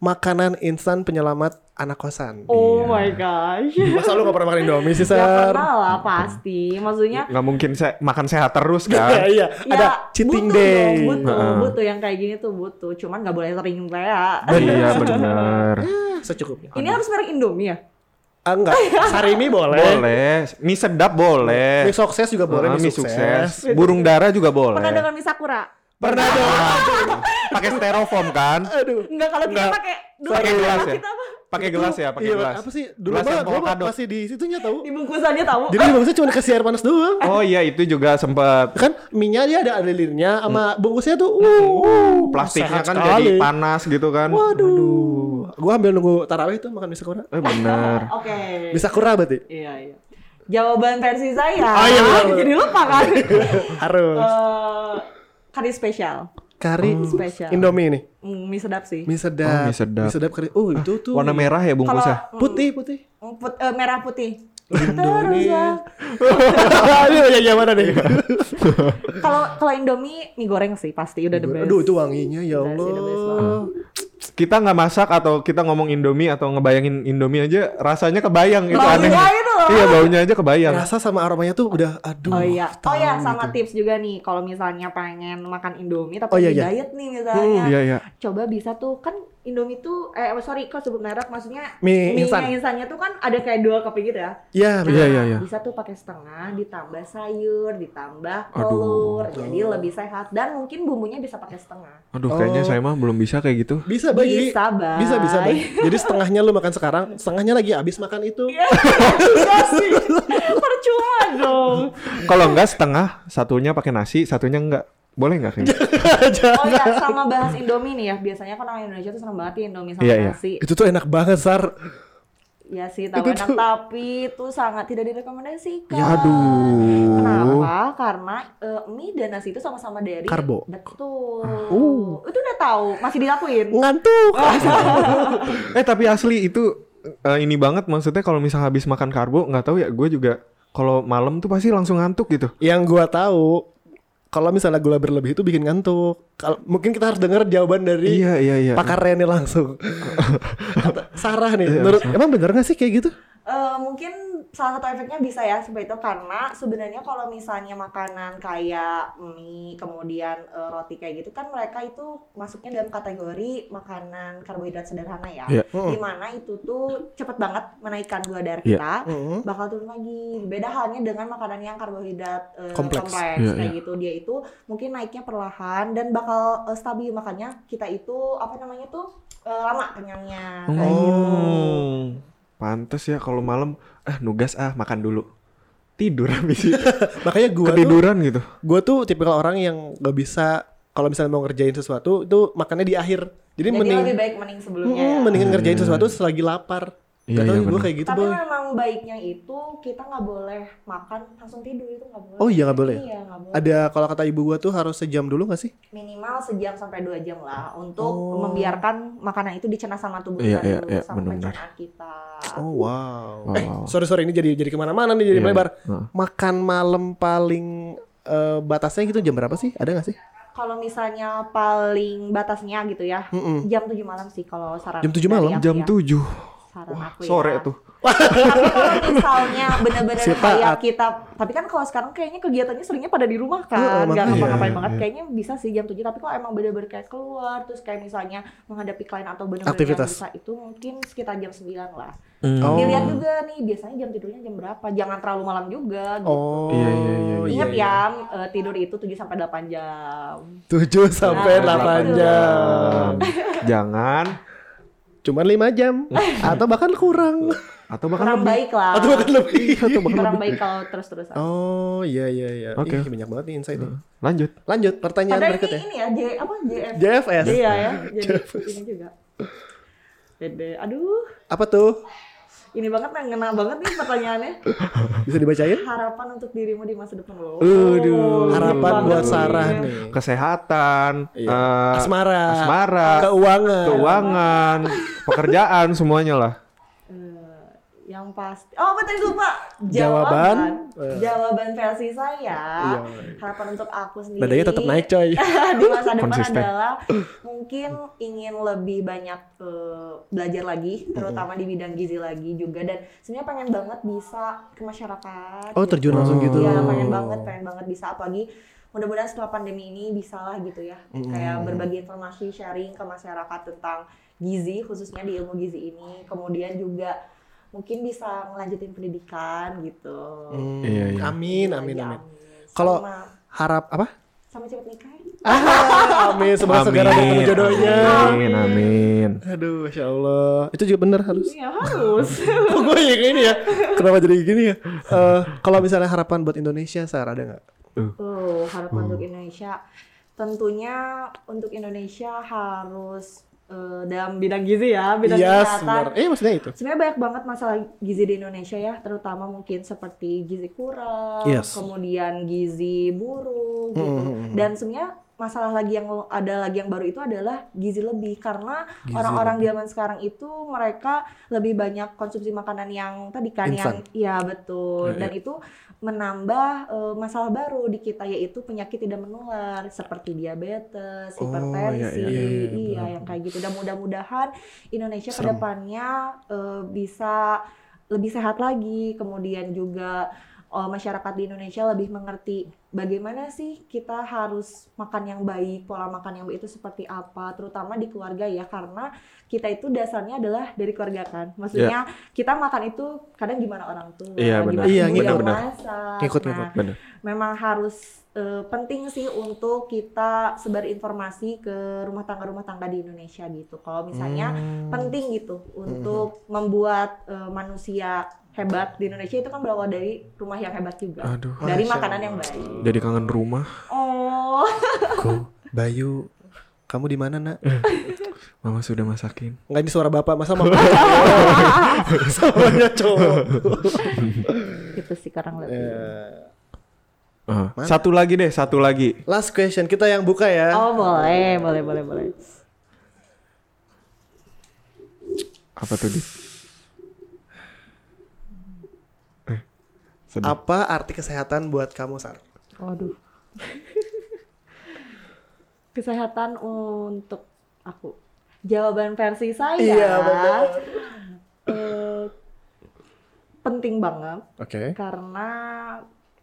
[SPEAKER 1] makanan instan penyelamat anak kosan.
[SPEAKER 3] Oh my gosh.
[SPEAKER 1] Masa lu gak pernah makan Indomie sih
[SPEAKER 3] Ya
[SPEAKER 1] Sar?
[SPEAKER 3] pernah lah pasti. Maksudnya
[SPEAKER 2] Nggak mungkin se- makan sehat terus
[SPEAKER 1] Iya,
[SPEAKER 2] kan?
[SPEAKER 1] iya. Ada cheating day.
[SPEAKER 3] Dong, Ya, butuh, butuh yang kayak gini tuh butuh. Cuman nggak boleh sering ya.
[SPEAKER 2] iya benar.
[SPEAKER 1] Ah, Secukupnya.
[SPEAKER 3] Ini harus merek Indomie ya?
[SPEAKER 1] Ah, enggak, sarimi boleh.
[SPEAKER 2] Boleh. Mie sedap boleh.
[SPEAKER 1] Mie sukses juga boleh,
[SPEAKER 2] Ah,
[SPEAKER 1] mie, sukses.
[SPEAKER 2] Burung dara juga boleh.
[SPEAKER 3] Pernah dengan mie sakura?
[SPEAKER 2] Pernah dong. Pakai styrofoam kan?
[SPEAKER 1] Aduh.
[SPEAKER 3] Enggak kalau kita
[SPEAKER 2] Nggak.
[SPEAKER 3] pakai dulu
[SPEAKER 2] Pakai
[SPEAKER 3] kita-
[SPEAKER 2] gelas ya?
[SPEAKER 3] kita apa?
[SPEAKER 2] Pakai gelas ya, pakai
[SPEAKER 1] Iya,
[SPEAKER 2] gelas.
[SPEAKER 1] apa sih? Dulu
[SPEAKER 2] Gelas
[SPEAKER 1] banget
[SPEAKER 2] yang
[SPEAKER 1] gua
[SPEAKER 2] avocado.
[SPEAKER 1] masih di situnya tahu.
[SPEAKER 3] Di bungkusannya tahu.
[SPEAKER 1] Jadi maksudnya cuma kasih air panas doang.
[SPEAKER 2] Oh iya itu juga sempat
[SPEAKER 1] kan minyak dia ada ada lirnya
[SPEAKER 2] Hmm.
[SPEAKER 1] sama bungkusnya tuh uh, uh,
[SPEAKER 2] plastiknya
[SPEAKER 1] sehat
[SPEAKER 2] kan
[SPEAKER 1] sekali.
[SPEAKER 2] jadi panas gitu kan.
[SPEAKER 1] waduh gua ambil nunggu tarawih tuh makan bisa kurang
[SPEAKER 2] Eh benar.
[SPEAKER 3] Oke.
[SPEAKER 1] bisa kurang berarti
[SPEAKER 3] Iya, iya. Jawaban versi saya.
[SPEAKER 1] Oh, iya, benar, benar.
[SPEAKER 3] Jadi lupa kan?
[SPEAKER 1] Iya. harus
[SPEAKER 3] Eh, Kari spesial.
[SPEAKER 1] kari
[SPEAKER 3] Spesial.
[SPEAKER 1] indomie ini
[SPEAKER 3] Mm, Mie sedap sih.
[SPEAKER 1] mie sedap
[SPEAKER 2] Oh, mie sedap.
[SPEAKER 1] kari oh itu tuh
[SPEAKER 2] Warna merah ya
[SPEAKER 3] Kalau
[SPEAKER 2] bungkusnya.
[SPEAKER 1] putih putih
[SPEAKER 3] mm, put- eh, merah putih. Terus ya. lah.
[SPEAKER 1] ini banyak yang mana nih
[SPEAKER 3] Kalau kalau Indomie mie goreng sih pasti udah the best.
[SPEAKER 1] aduh itu wanginya ya
[SPEAKER 3] Udah sih, the best
[SPEAKER 1] allah Hmm.
[SPEAKER 2] Kita nggak masak atau kita ngomong Indomie atau ngebayangin Indomie aja rasanya kebayang itu
[SPEAKER 3] Baunya
[SPEAKER 2] aneh.
[SPEAKER 3] itu loh.
[SPEAKER 2] Iya baunya aja kebayang.
[SPEAKER 1] Ya, rasa sama aromanya tuh udah aduh
[SPEAKER 3] Oh iya, oh iya
[SPEAKER 1] tahu
[SPEAKER 3] sama
[SPEAKER 1] gitu.
[SPEAKER 3] tips juga nih kalau misalnya pengen makan Indomie
[SPEAKER 1] Oh
[SPEAKER 3] tapi
[SPEAKER 1] iya,
[SPEAKER 3] lagi
[SPEAKER 1] iya.
[SPEAKER 3] diet nih misalnya.
[SPEAKER 2] Iya iya.
[SPEAKER 3] Coba bisa tuh kan Indomie tuh eh sorry kok sebut merek maksudnya
[SPEAKER 1] Mie
[SPEAKER 3] mie
[SPEAKER 1] instan.
[SPEAKER 3] insannya tuh kan ada kayak dua kopi gitu ya.
[SPEAKER 1] Iya,
[SPEAKER 2] Iya, iya, iya.
[SPEAKER 3] Bisa tuh pakai setengah ditambah sayur, ditambah
[SPEAKER 2] Aduh.
[SPEAKER 3] telur. Jadi lebih sehat dan mungkin bumbunya bisa pakai setengah.
[SPEAKER 2] Aduh,
[SPEAKER 1] Oh.
[SPEAKER 2] kayaknya saya mah belum bisa kayak gitu.
[SPEAKER 1] bisa Bay. Jadi-
[SPEAKER 3] Bisa, Bay.
[SPEAKER 1] Bisa bisa Bay. Jadi setengahnya lu makan sekarang, setengahnya lagi abis makan itu.
[SPEAKER 3] Iya sih. Percuma dong.
[SPEAKER 2] Kalau enggak setengah, satunya pakai nasi, satunya enggak. Boleh enggak kayak gitu?
[SPEAKER 3] Oh iya, sama bahas Indomie nih ya. Biasanya kan orang Indonesia tuh seneng banget ya Indomie sama
[SPEAKER 2] Iya, iya.
[SPEAKER 3] nasi.
[SPEAKER 1] Itu tuh enak banget, Sar.
[SPEAKER 3] Ya sih, tahu
[SPEAKER 1] Itu
[SPEAKER 3] enak
[SPEAKER 1] tuh-
[SPEAKER 3] tapi itu sangat tidak direkomendasikan.
[SPEAKER 2] Ya aduh.
[SPEAKER 3] Kenapa? Karena eh, mie dan nasi itu sama-sama dari
[SPEAKER 1] Karbo.
[SPEAKER 3] Betul.
[SPEAKER 2] Ah, uh.
[SPEAKER 3] Itu udah tahu, masih dilakuin.
[SPEAKER 1] Ngantuk.
[SPEAKER 2] Eh tapi asli itu eh, ini banget maksudnya kalau misal habis makan karbo nggak tahu ya gue juga kalau malam tuh pasti langsung ngantuk gitu.
[SPEAKER 1] Yang gua tahu kalau misalnya gula berlebih itu bikin ngantuk. Kalau mungkin kita harus dengar jawaban dari
[SPEAKER 2] Iya iya iya.
[SPEAKER 1] pakar Rene langsung. Kata- Sarah nih, menurut emang bener gak sih kayak gitu?
[SPEAKER 3] Eh, mungkin salah satu efeknya bisa ya seperti itu karena sebenarnya kalau misalnya makanan kayak mie kemudian eh, roti kayak gitu kan mereka itu masuknya dalam kategori makanan karbohidrat sederhana ya
[SPEAKER 2] Iya.
[SPEAKER 3] dimana itu tuh cepet banget menaikkan gula darah
[SPEAKER 2] Iya.
[SPEAKER 3] kita
[SPEAKER 1] Heeh.
[SPEAKER 3] bakal turun lagi. Beda halnya dengan makanan yang karbohidrat eh,
[SPEAKER 1] Kompleks.
[SPEAKER 3] kompleks,
[SPEAKER 2] Iya,
[SPEAKER 3] kayak gitu. Dia itu mungkin naiknya perlahan dan bakal eh, stabil makanya kita itu apa namanya tuh eh, lama kenyangnya kayak gitu.
[SPEAKER 2] Oh. Pantes ya kalau malam eh nugas ah makan dulu. Tidur habis itu.
[SPEAKER 1] Makanya gua tuh
[SPEAKER 2] Ketiduran gitu.
[SPEAKER 1] gue tuh tipikal orang yang gak bisa kalau misalnya mau ngerjain sesuatu itu makannya di akhir jadi
[SPEAKER 3] Jadi
[SPEAKER 1] mending
[SPEAKER 3] lebih baik mending sebelumnya
[SPEAKER 1] Mm,
[SPEAKER 3] ya.
[SPEAKER 1] mendingan
[SPEAKER 2] Iya,
[SPEAKER 1] ngerjain
[SPEAKER 2] iya,
[SPEAKER 1] sesuatu selagi lapar gak
[SPEAKER 2] Iya,
[SPEAKER 1] tau
[SPEAKER 2] iya,
[SPEAKER 1] gue
[SPEAKER 2] bener.
[SPEAKER 1] kayak gitu
[SPEAKER 3] Tapi
[SPEAKER 1] boy
[SPEAKER 3] memang baiknya itu kita nggak boleh makan langsung tidur itu nggak boleh.
[SPEAKER 1] Oh iya, nggak boleh?
[SPEAKER 3] Iya nggak boleh.
[SPEAKER 1] ada kalau kata ibu gue tuh harus sejam dulu gak sih
[SPEAKER 3] Minimal sejam sampai dua jam lah untuk
[SPEAKER 1] Oh.
[SPEAKER 3] membiarkan makanan itu dicerna sama tubuh
[SPEAKER 2] Iya,
[SPEAKER 3] kita
[SPEAKER 2] iya,
[SPEAKER 3] dulu
[SPEAKER 2] iya,
[SPEAKER 3] sama
[SPEAKER 2] benar-benar.
[SPEAKER 3] pencernaan kita.
[SPEAKER 1] oh wow,
[SPEAKER 2] Wow.
[SPEAKER 1] eh sorry sorry ini jadi jadi kemana-mana nih jadi
[SPEAKER 2] Iya,
[SPEAKER 1] melebar
[SPEAKER 2] iya. Nah.
[SPEAKER 1] makan malam paling eh, batasnya gitu jam berapa sih ada gak sih
[SPEAKER 3] Kalau misalnya paling batasnya gitu ya,
[SPEAKER 1] Mm-mm.
[SPEAKER 3] jam 7 malam sih kalau saran
[SPEAKER 1] Jam 7
[SPEAKER 3] dari
[SPEAKER 1] malam?
[SPEAKER 3] aku
[SPEAKER 2] Jam
[SPEAKER 3] ya.
[SPEAKER 2] 7.
[SPEAKER 3] Saran aku ya.
[SPEAKER 2] Sore tuh.
[SPEAKER 3] Tapi kalau misalnya benar-benar
[SPEAKER 1] Si
[SPEAKER 3] kayak
[SPEAKER 1] taat.
[SPEAKER 3] kita, tapi kan kalau sekarang kayaknya kegiatannya seringnya pada di rumah
[SPEAKER 1] Iya,
[SPEAKER 3] kan, nggak
[SPEAKER 1] makanya.
[SPEAKER 3] ngapa-ngapain
[SPEAKER 2] Iya,
[SPEAKER 3] banget.
[SPEAKER 2] iya.
[SPEAKER 3] Kayaknya bisa sih jam 7 tapi kalau emang benar-benar kayak keluar, terus kayak misalnya menghadapi klien atau benar-benar yang
[SPEAKER 1] Aktivitas.
[SPEAKER 3] bisa itu mungkin sekitar jam 9 lah.
[SPEAKER 2] Hmm.
[SPEAKER 1] Oh.
[SPEAKER 3] Dilihat juga nih biasanya jam tidurnya jam berapa, jangan terlalu malam juga. Gitu.
[SPEAKER 1] oh
[SPEAKER 2] Iya, iya, iya, iya.
[SPEAKER 3] Ingat ya, eh, tidur itu 7 sampai 8 jam.
[SPEAKER 1] 7 sampai
[SPEAKER 3] Nah,
[SPEAKER 1] 8
[SPEAKER 3] betul.
[SPEAKER 1] jam
[SPEAKER 2] Jangan
[SPEAKER 1] cuman 5 jam atau bahkan kurang
[SPEAKER 2] atau bahkan
[SPEAKER 3] Kurang
[SPEAKER 2] lebih.
[SPEAKER 3] baik lah.
[SPEAKER 1] atau bahkan lebih
[SPEAKER 3] kurang baik kalau terus-terusan.
[SPEAKER 1] Oh iya iya iya.
[SPEAKER 2] Oke.
[SPEAKER 1] Ih, banyak banget nih insight nih.
[SPEAKER 2] Lanjut.
[SPEAKER 1] Lanjut pertanyaan
[SPEAKER 3] Padahal ini,
[SPEAKER 1] berikutnya.
[SPEAKER 3] ini ya, J, apa JF?
[SPEAKER 1] JFS.
[SPEAKER 3] Iya ya, jadi ini juga. Dede, aduh,
[SPEAKER 1] Apa tuh?
[SPEAKER 3] ini banget nah, ngena banget nih pertanyaannya.
[SPEAKER 1] Bisa dibacain?
[SPEAKER 3] Harapan untuk dirimu di masa depan lo.
[SPEAKER 2] Aduh.
[SPEAKER 1] Harapan
[SPEAKER 2] Banget
[SPEAKER 1] buat
[SPEAKER 2] nih.
[SPEAKER 1] Sarah nih.
[SPEAKER 2] Kesehatan,
[SPEAKER 1] Iya.
[SPEAKER 2] eh,
[SPEAKER 1] asmara.
[SPEAKER 2] asmara,
[SPEAKER 1] Keuangan.
[SPEAKER 2] keuangan, pekerjaan semuanya lah.
[SPEAKER 3] Eh, yang pasti. Oh, apa tadi lupa?
[SPEAKER 1] Jawaban.
[SPEAKER 3] Jawaban, Jawaban versi saya. Harapan untuk aku sendiri.
[SPEAKER 1] Nadanya tetap naik coy.
[SPEAKER 3] di masa depan
[SPEAKER 2] Konsisten.
[SPEAKER 3] adalah mungkin ingin lebih banyak eh, belajar lagi terutama di bidang gizi lagi juga dan sebenarnya pengen banget bisa ke masyarakat
[SPEAKER 1] Oh, terjun langsung gitu.
[SPEAKER 3] iya pengen banget pengen banget bisa apalagi mudah-mudahan setelah pandemi ini bisa lah gitu ya kayak berbagi informasi sharing ke masyarakat tentang gizi khususnya di ilmu gizi ini kemudian juga mungkin bisa ngelanjutin pendidikan gitu
[SPEAKER 1] Hmm,
[SPEAKER 2] Iya, iya.
[SPEAKER 1] Amin amin
[SPEAKER 3] Lagi,
[SPEAKER 1] amin. Kalau-
[SPEAKER 3] sama,
[SPEAKER 1] Harap apa?
[SPEAKER 3] sama cepet nikah ya.
[SPEAKER 1] Ah, amin semoga segera ketemu jodohnya.
[SPEAKER 2] Amin, amin.
[SPEAKER 1] Aduh, Masya Allah. Itu juga bener harus.
[SPEAKER 3] Iya harus.
[SPEAKER 1] Kok gue yang ini ya? Kenapa jadi gini ya? Eh, kalau misalnya harapan buat Indonesia, Sarah ada nggak?
[SPEAKER 3] Oh,
[SPEAKER 1] Hmm.
[SPEAKER 3] harapan untuk Indonesia. Tentunya untuk Indonesia harus eh, dalam bidang gizi ya, bidang
[SPEAKER 1] Iya,
[SPEAKER 3] kesehatan.
[SPEAKER 1] benar. Eh, maksudnya itu.
[SPEAKER 3] Sebenarnya banyak banget masalah gizi di Indonesia ya, terutama mungkin seperti gizi kurang,
[SPEAKER 1] Yes.
[SPEAKER 3] kemudian gizi buruk gitu. Dan sebenarnya masalah lagi yang ada lagi yang baru itu adalah gizi lebih karena orang-orang zaman sekarang itu mereka lebih banyak konsumsi makanan yang tadi kan
[SPEAKER 1] Instan.
[SPEAKER 3] yang ya betul dan itu menambah eh, masalah baru di kita yaitu penyakit tidak menular seperti diabetes,
[SPEAKER 2] Oh, iya,
[SPEAKER 3] hipertensi, iya,
[SPEAKER 2] iya, iya,
[SPEAKER 3] yang kayak gitu. Dan mudah-mudahan Indonesia kedepannya eh, bisa lebih sehat lagi, kemudian juga oh, masyarakat di Indonesia lebih mengerti bagaimana sih kita harus makan yang baik, pola makan yang baik itu seperti apa, terutama di keluarga ya karena kita itu dasarnya adalah dari keluarga kan. Maksudnya kita makan itu kadang gimana orang tua,
[SPEAKER 2] Iya, benar.
[SPEAKER 3] gimana
[SPEAKER 4] Iya,
[SPEAKER 3] ibu yang
[SPEAKER 2] benar-benar.
[SPEAKER 3] masak.
[SPEAKER 1] Ngikut-ngikut.
[SPEAKER 3] Nah,
[SPEAKER 2] Bener.
[SPEAKER 3] memang harus eh, penting sih untuk kita sebar informasi ke rumah tangga-rumah tangga di Indonesia gitu. Kalau misalnya penting gitu untuk membuat eh, manusia hebat di Indonesia itu kan berawal dari rumah yang hebat juga.
[SPEAKER 2] Aduh.
[SPEAKER 3] Dari
[SPEAKER 1] Masya
[SPEAKER 3] makanan yang baik.
[SPEAKER 2] Jadi kangen rumah.
[SPEAKER 3] Oh,
[SPEAKER 4] Ku, Bayu,
[SPEAKER 1] Kamu di mana nak?
[SPEAKER 2] Mama sudah masakin.
[SPEAKER 1] Enggak ini suara bapak masa mau Suaranya cowok.
[SPEAKER 3] itu Gitu sih kurang lebih.
[SPEAKER 1] Eh,
[SPEAKER 2] Ah, Satu lagi deh, satu lagi.
[SPEAKER 1] Last question kita yang buka ya.
[SPEAKER 3] Oh, boleh, boleh, boleh, boleh.
[SPEAKER 2] Apa tuh? Dit? Eh, sedih.
[SPEAKER 1] Apa arti kesehatan buat kamu Sar?
[SPEAKER 3] Waduh. Kesehatan untuk aku. Jawaban versi saya.
[SPEAKER 1] Iya, benar.
[SPEAKER 3] eh, penting banget
[SPEAKER 1] Oke.
[SPEAKER 3] karena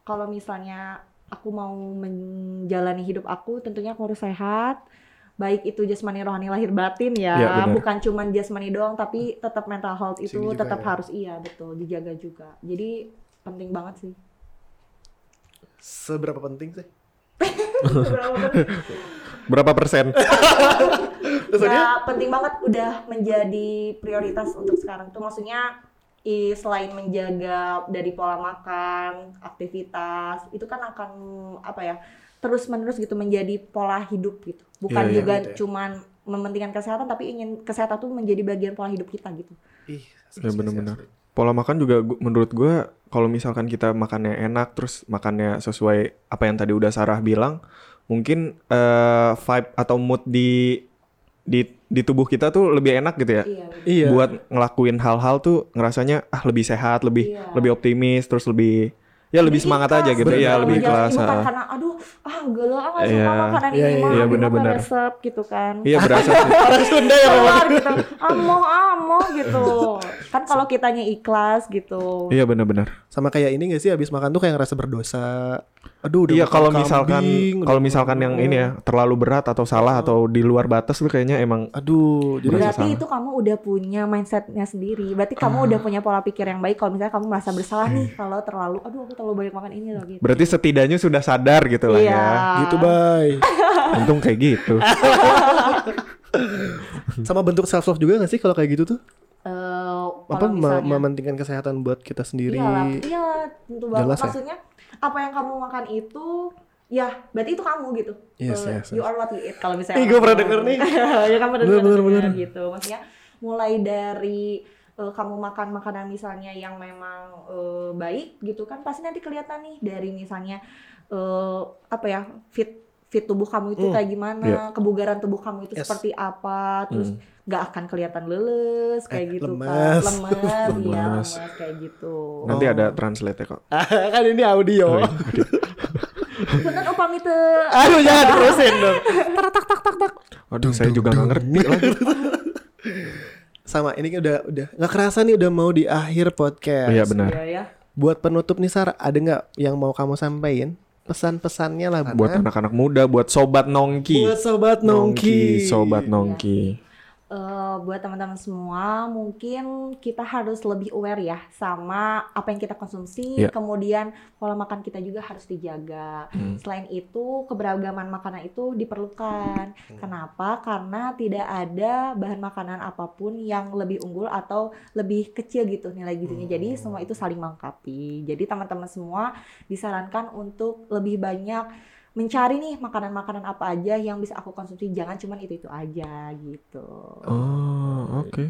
[SPEAKER 3] kalau misalnya aku mau menjalani hidup aku tentunya aku harus sehat baik itu jasmani rohani lahir batin ya,
[SPEAKER 2] Iya, benar.
[SPEAKER 3] bukan cuman jasmani doang tapi tetap mental health itu
[SPEAKER 1] Sini juga
[SPEAKER 3] tetap
[SPEAKER 1] ya.
[SPEAKER 3] harus iya betul dijaga juga jadi penting banget sih
[SPEAKER 1] Seberapa penting
[SPEAKER 3] Ya.
[SPEAKER 1] sih?
[SPEAKER 2] Berapa persen?
[SPEAKER 1] Maksudnya?
[SPEAKER 3] Ya, penting banget udah menjadi prioritas untuk sekarang tuh maksudnya i- selain menjaga dari pola makan, aktivitas, itu kan akan apa ya? terus-menerus gitu menjadi pola hidup gitu. Bukan
[SPEAKER 2] Iya, iya,
[SPEAKER 3] juga
[SPEAKER 1] gitu ya.
[SPEAKER 3] cuman mementingkan kesehatan tapi ingin kesehatan tuh menjadi bagian pola hidup kita gitu.
[SPEAKER 1] Ih,
[SPEAKER 2] Ya, bener-bener. Pola makan juga gu- menurut gua kalau misalkan kita makannya enak terus makannya sesuai apa yang tadi udah Sarah bilang, mungkin eh, vibe atau mood di di di tubuh kita tuh lebih enak gitu ya.
[SPEAKER 3] Iya.
[SPEAKER 1] Iya.
[SPEAKER 2] Buat ngelakuin hal-hal tuh ngerasanya ah lebih sehat, lebih
[SPEAKER 3] Iya.
[SPEAKER 2] lebih optimis, terus lebih ya lebih semangat aja gitu
[SPEAKER 1] Bener.
[SPEAKER 2] ya, lebih
[SPEAKER 3] Menjalani
[SPEAKER 2] ikhlas.
[SPEAKER 3] Iya, Bukan
[SPEAKER 2] ah.
[SPEAKER 3] karena aduh ah enggak lah ah, nggak suka
[SPEAKER 2] Iya.
[SPEAKER 3] makanan
[SPEAKER 1] Iya,
[SPEAKER 3] ini
[SPEAKER 1] iya,
[SPEAKER 3] mah
[SPEAKER 2] iya,
[SPEAKER 3] ini mah
[SPEAKER 2] bener-bener.
[SPEAKER 3] resep gitu kan.
[SPEAKER 2] Iya berasa sih.
[SPEAKER 1] Orang Sunda ya
[SPEAKER 3] keluar gitu amoh amoh gitu kan kalau kitanya ikhlas gitu
[SPEAKER 2] Iya benar-benar.
[SPEAKER 1] Sama kayak ini gak sih abis makan tuh kayak ngerasa berdosa. Aduh, udah
[SPEAKER 2] Iya
[SPEAKER 1] makan
[SPEAKER 2] kalau misalkan
[SPEAKER 1] kambing, udah
[SPEAKER 2] kalau misalkan yang ini ya terlalu berat atau salah atau di luar batas tuh kayaknya emang
[SPEAKER 1] Aduh, jadi
[SPEAKER 2] Berasa
[SPEAKER 3] berarti
[SPEAKER 2] salah.
[SPEAKER 3] itu kamu udah punya mindsetnya sendiri berarti
[SPEAKER 1] Ah.
[SPEAKER 3] kamu udah punya pola pikir yang baik kalau misalnya kamu merasa bersalah nih kalau terlalu aduh aku terlalu banyak makan ini loh gitu
[SPEAKER 2] berarti setidaknya sudah sadar gitu lah
[SPEAKER 3] iya
[SPEAKER 1] gitu bay.
[SPEAKER 2] ya. Untung kayak gitu.
[SPEAKER 1] Oh. Sama bentuk self love juga gak sih kalau kayak gitu tuh?
[SPEAKER 3] Eh,
[SPEAKER 1] Apa
[SPEAKER 3] kalau
[SPEAKER 1] me-
[SPEAKER 3] misalnya Iya,
[SPEAKER 1] mementingkan kesehatan buat kita sendiri?
[SPEAKER 3] iyalah iyalah tentu banget
[SPEAKER 1] Jelas ya?
[SPEAKER 3] maksudnya apa yang kamu makan itu ya berarti itu kamu gitu
[SPEAKER 1] Yes,
[SPEAKER 3] Eh,
[SPEAKER 1] yes, yes.
[SPEAKER 3] you are what you eat kalau misalnya
[SPEAKER 1] Ih, gua
[SPEAKER 3] orang
[SPEAKER 1] pernah
[SPEAKER 3] bilang.
[SPEAKER 1] denger nih.
[SPEAKER 3] ya kamu pernah
[SPEAKER 1] Bener,
[SPEAKER 3] denger
[SPEAKER 1] bener,
[SPEAKER 3] kan,
[SPEAKER 1] bener.
[SPEAKER 3] gitu maksudnya mulai dari eh, kamu makan makanan misalnya yang memang eh, baik gitu kan pasti nanti kelihatan nih dari misalnya eh, apa ya fit fit tubuh kamu itu
[SPEAKER 1] Hmm.
[SPEAKER 3] kayak gimana
[SPEAKER 2] Iya.
[SPEAKER 3] kebugaran tubuh kamu itu
[SPEAKER 1] Yes.
[SPEAKER 3] seperti apa terus
[SPEAKER 2] Hmm.
[SPEAKER 3] nggak akan kelihatan leles kayak
[SPEAKER 1] Eh,
[SPEAKER 3] gitu
[SPEAKER 1] lemes.
[SPEAKER 3] kan lemes iya
[SPEAKER 2] Lemes.
[SPEAKER 3] lemes kayak gitu
[SPEAKER 2] Nanti
[SPEAKER 1] Oh.
[SPEAKER 2] ada translate kok.
[SPEAKER 1] kan ini
[SPEAKER 2] Oh,
[SPEAKER 1] audio.
[SPEAKER 2] iya.
[SPEAKER 3] Punten upami teu.
[SPEAKER 1] Aduh, jangan diterusin dong.
[SPEAKER 2] Aduh saya juga nggak ngerti lagi.
[SPEAKER 1] Sama ini kan udah udah nggak kerasa nih udah mau di akhir podcast.
[SPEAKER 2] Iya benar.
[SPEAKER 3] Iya ya.
[SPEAKER 1] Buat penutup nih Sar, ada nggak yang mau kamu sampaikan? Pesan-pesannya lah
[SPEAKER 2] Buat anak-anak muda, buat sobat nongki.
[SPEAKER 1] eh. buat sobat nongki. Iya.
[SPEAKER 2] sobat nongki.
[SPEAKER 3] Eh, buat teman-teman semua, mungkin kita harus lebih aware ya sama apa yang kita konsumsi.
[SPEAKER 2] Iya.
[SPEAKER 3] Kemudian pola makan kita juga harus dijaga.
[SPEAKER 2] Hmm.
[SPEAKER 3] Selain itu, keberagaman makanan itu diperlukan.
[SPEAKER 2] Hmm.
[SPEAKER 3] Kenapa? Karena tidak ada bahan makanan apapun yang lebih unggul atau lebih kecil gitu nilai gizinya.
[SPEAKER 2] Hmm.
[SPEAKER 3] Jadi semua itu saling melengkapi. Jadi teman-teman semua disarankan untuk lebih banyak mencari nih makanan-makanan apa aja yang bisa aku konsumsi jangan cuman itu-itu aja gitu.
[SPEAKER 2] Oh oke.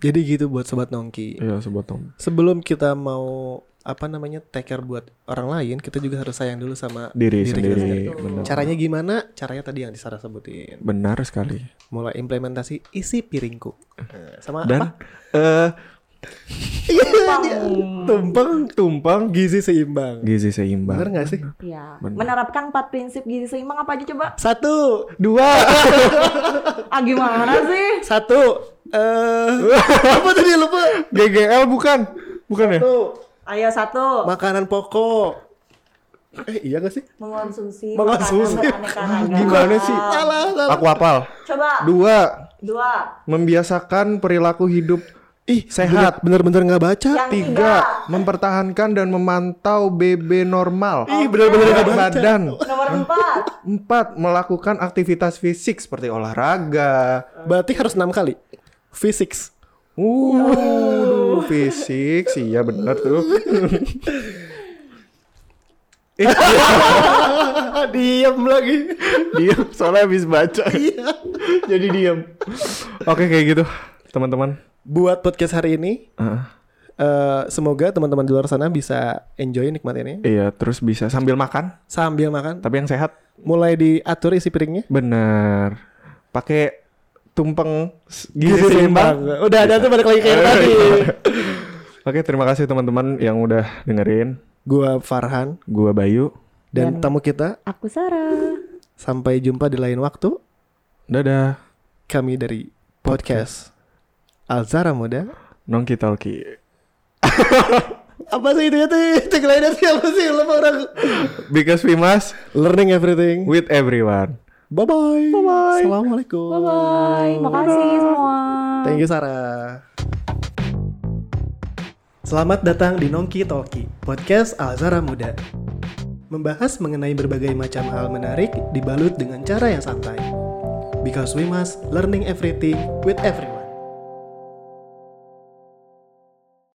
[SPEAKER 1] Jadi gitu buat sobat nongki.
[SPEAKER 2] Iya sobat nongki.
[SPEAKER 1] Sebelum kita mau apa namanya take care buat orang lain, kita juga harus sayang dulu sama
[SPEAKER 2] Diri,
[SPEAKER 1] kita
[SPEAKER 2] sendiri.
[SPEAKER 3] sendiri.
[SPEAKER 2] Benar.
[SPEAKER 1] Caranya gimana? Caranya tadi yang Sarah sebutin.
[SPEAKER 2] benar sekali.
[SPEAKER 1] Mulai implementasi isi piringku. Eh, Sama apa? Iya,
[SPEAKER 2] Dan eh
[SPEAKER 1] Tumpeng, tumpeng, gizi seimbang.
[SPEAKER 2] gizi seimbang.
[SPEAKER 1] Bener gak sih?
[SPEAKER 3] Ya,
[SPEAKER 2] Benar.
[SPEAKER 3] menerapkan empat prinsip gizi seimbang apa aja coba?
[SPEAKER 1] Satu, dua,
[SPEAKER 3] Ah gimana sih?
[SPEAKER 1] satu. Eh, apa tadi lupa?
[SPEAKER 2] GGL bukan? Bukan ya?
[SPEAKER 1] Tuh,
[SPEAKER 5] Ayo satu.
[SPEAKER 1] Makanan pokok. Eh iya gak sih?
[SPEAKER 5] mengonsumsi
[SPEAKER 1] Mengonsumsi.
[SPEAKER 5] makanan beraneka ragam.
[SPEAKER 2] Gimana sih?
[SPEAKER 1] Salah, salah.
[SPEAKER 2] Aku apal.
[SPEAKER 5] Coba
[SPEAKER 2] Dua,
[SPEAKER 5] dua.
[SPEAKER 2] membiasakan perilaku hidup
[SPEAKER 1] Ih,
[SPEAKER 2] Sehat.
[SPEAKER 1] Bener-bener nggak baca.
[SPEAKER 3] Ya.
[SPEAKER 5] Yang tiga.
[SPEAKER 2] tiga, mempertahankan dan memantau BB normal.
[SPEAKER 1] Ih, bener-bener nggak
[SPEAKER 2] Berat
[SPEAKER 1] baca.
[SPEAKER 2] badan.
[SPEAKER 5] Nomor empat.
[SPEAKER 2] Empat, melakukan aktivitas fisik seperti olahraga.
[SPEAKER 1] Berarti harus enam kali. Fisik.
[SPEAKER 2] Uh, fisik sih ya bener tuh.
[SPEAKER 1] Diam lagi.
[SPEAKER 2] diam, soalnya habis baca. Jadi diam. Iya. Oke kayak gitu, teman-teman.
[SPEAKER 1] Buat podcast hari ini,
[SPEAKER 2] Ah,
[SPEAKER 1] eh, semoga teman-teman di luar sana bisa enjoy nikmatinnya
[SPEAKER 2] iya, terus bisa sambil makan,
[SPEAKER 1] sambil makan.
[SPEAKER 2] tapi yang sehat.
[SPEAKER 1] Mulai diatur isi piringnya.
[SPEAKER 2] Bener. Pakai tumpeng s- gizi
[SPEAKER 1] Gizi
[SPEAKER 2] seimbang.
[SPEAKER 1] seimbang. Udah ada tuh balik lagi kayak tadi.
[SPEAKER 2] Oke, terima kasih teman-teman yang udah dengerin.
[SPEAKER 1] Gua Farhan
[SPEAKER 2] Gua Bayu.
[SPEAKER 1] dan tamu kita
[SPEAKER 3] Aku Sarah.
[SPEAKER 1] sampai jumpa di lain waktu.
[SPEAKER 2] Dadah.
[SPEAKER 1] Kami dari podcast Alzara Muda.
[SPEAKER 2] Nongki talki.
[SPEAKER 1] Apa sih itu ya tuh? Tagline sih apa sih? Lupa orang.
[SPEAKER 2] Because we must
[SPEAKER 1] Learning everything.
[SPEAKER 2] with everyone.
[SPEAKER 1] Bye bye. Bye bye. Assalamualaikum.
[SPEAKER 3] Bye bye. Makasih semua.
[SPEAKER 1] Thank you Sarah.
[SPEAKER 4] Selamat datang di Nongki Talki, podcast Alzara Muda. Membahas mengenai berbagai macam hal menarik dibalut dengan cara yang santai. Because we must learning everything with everyone.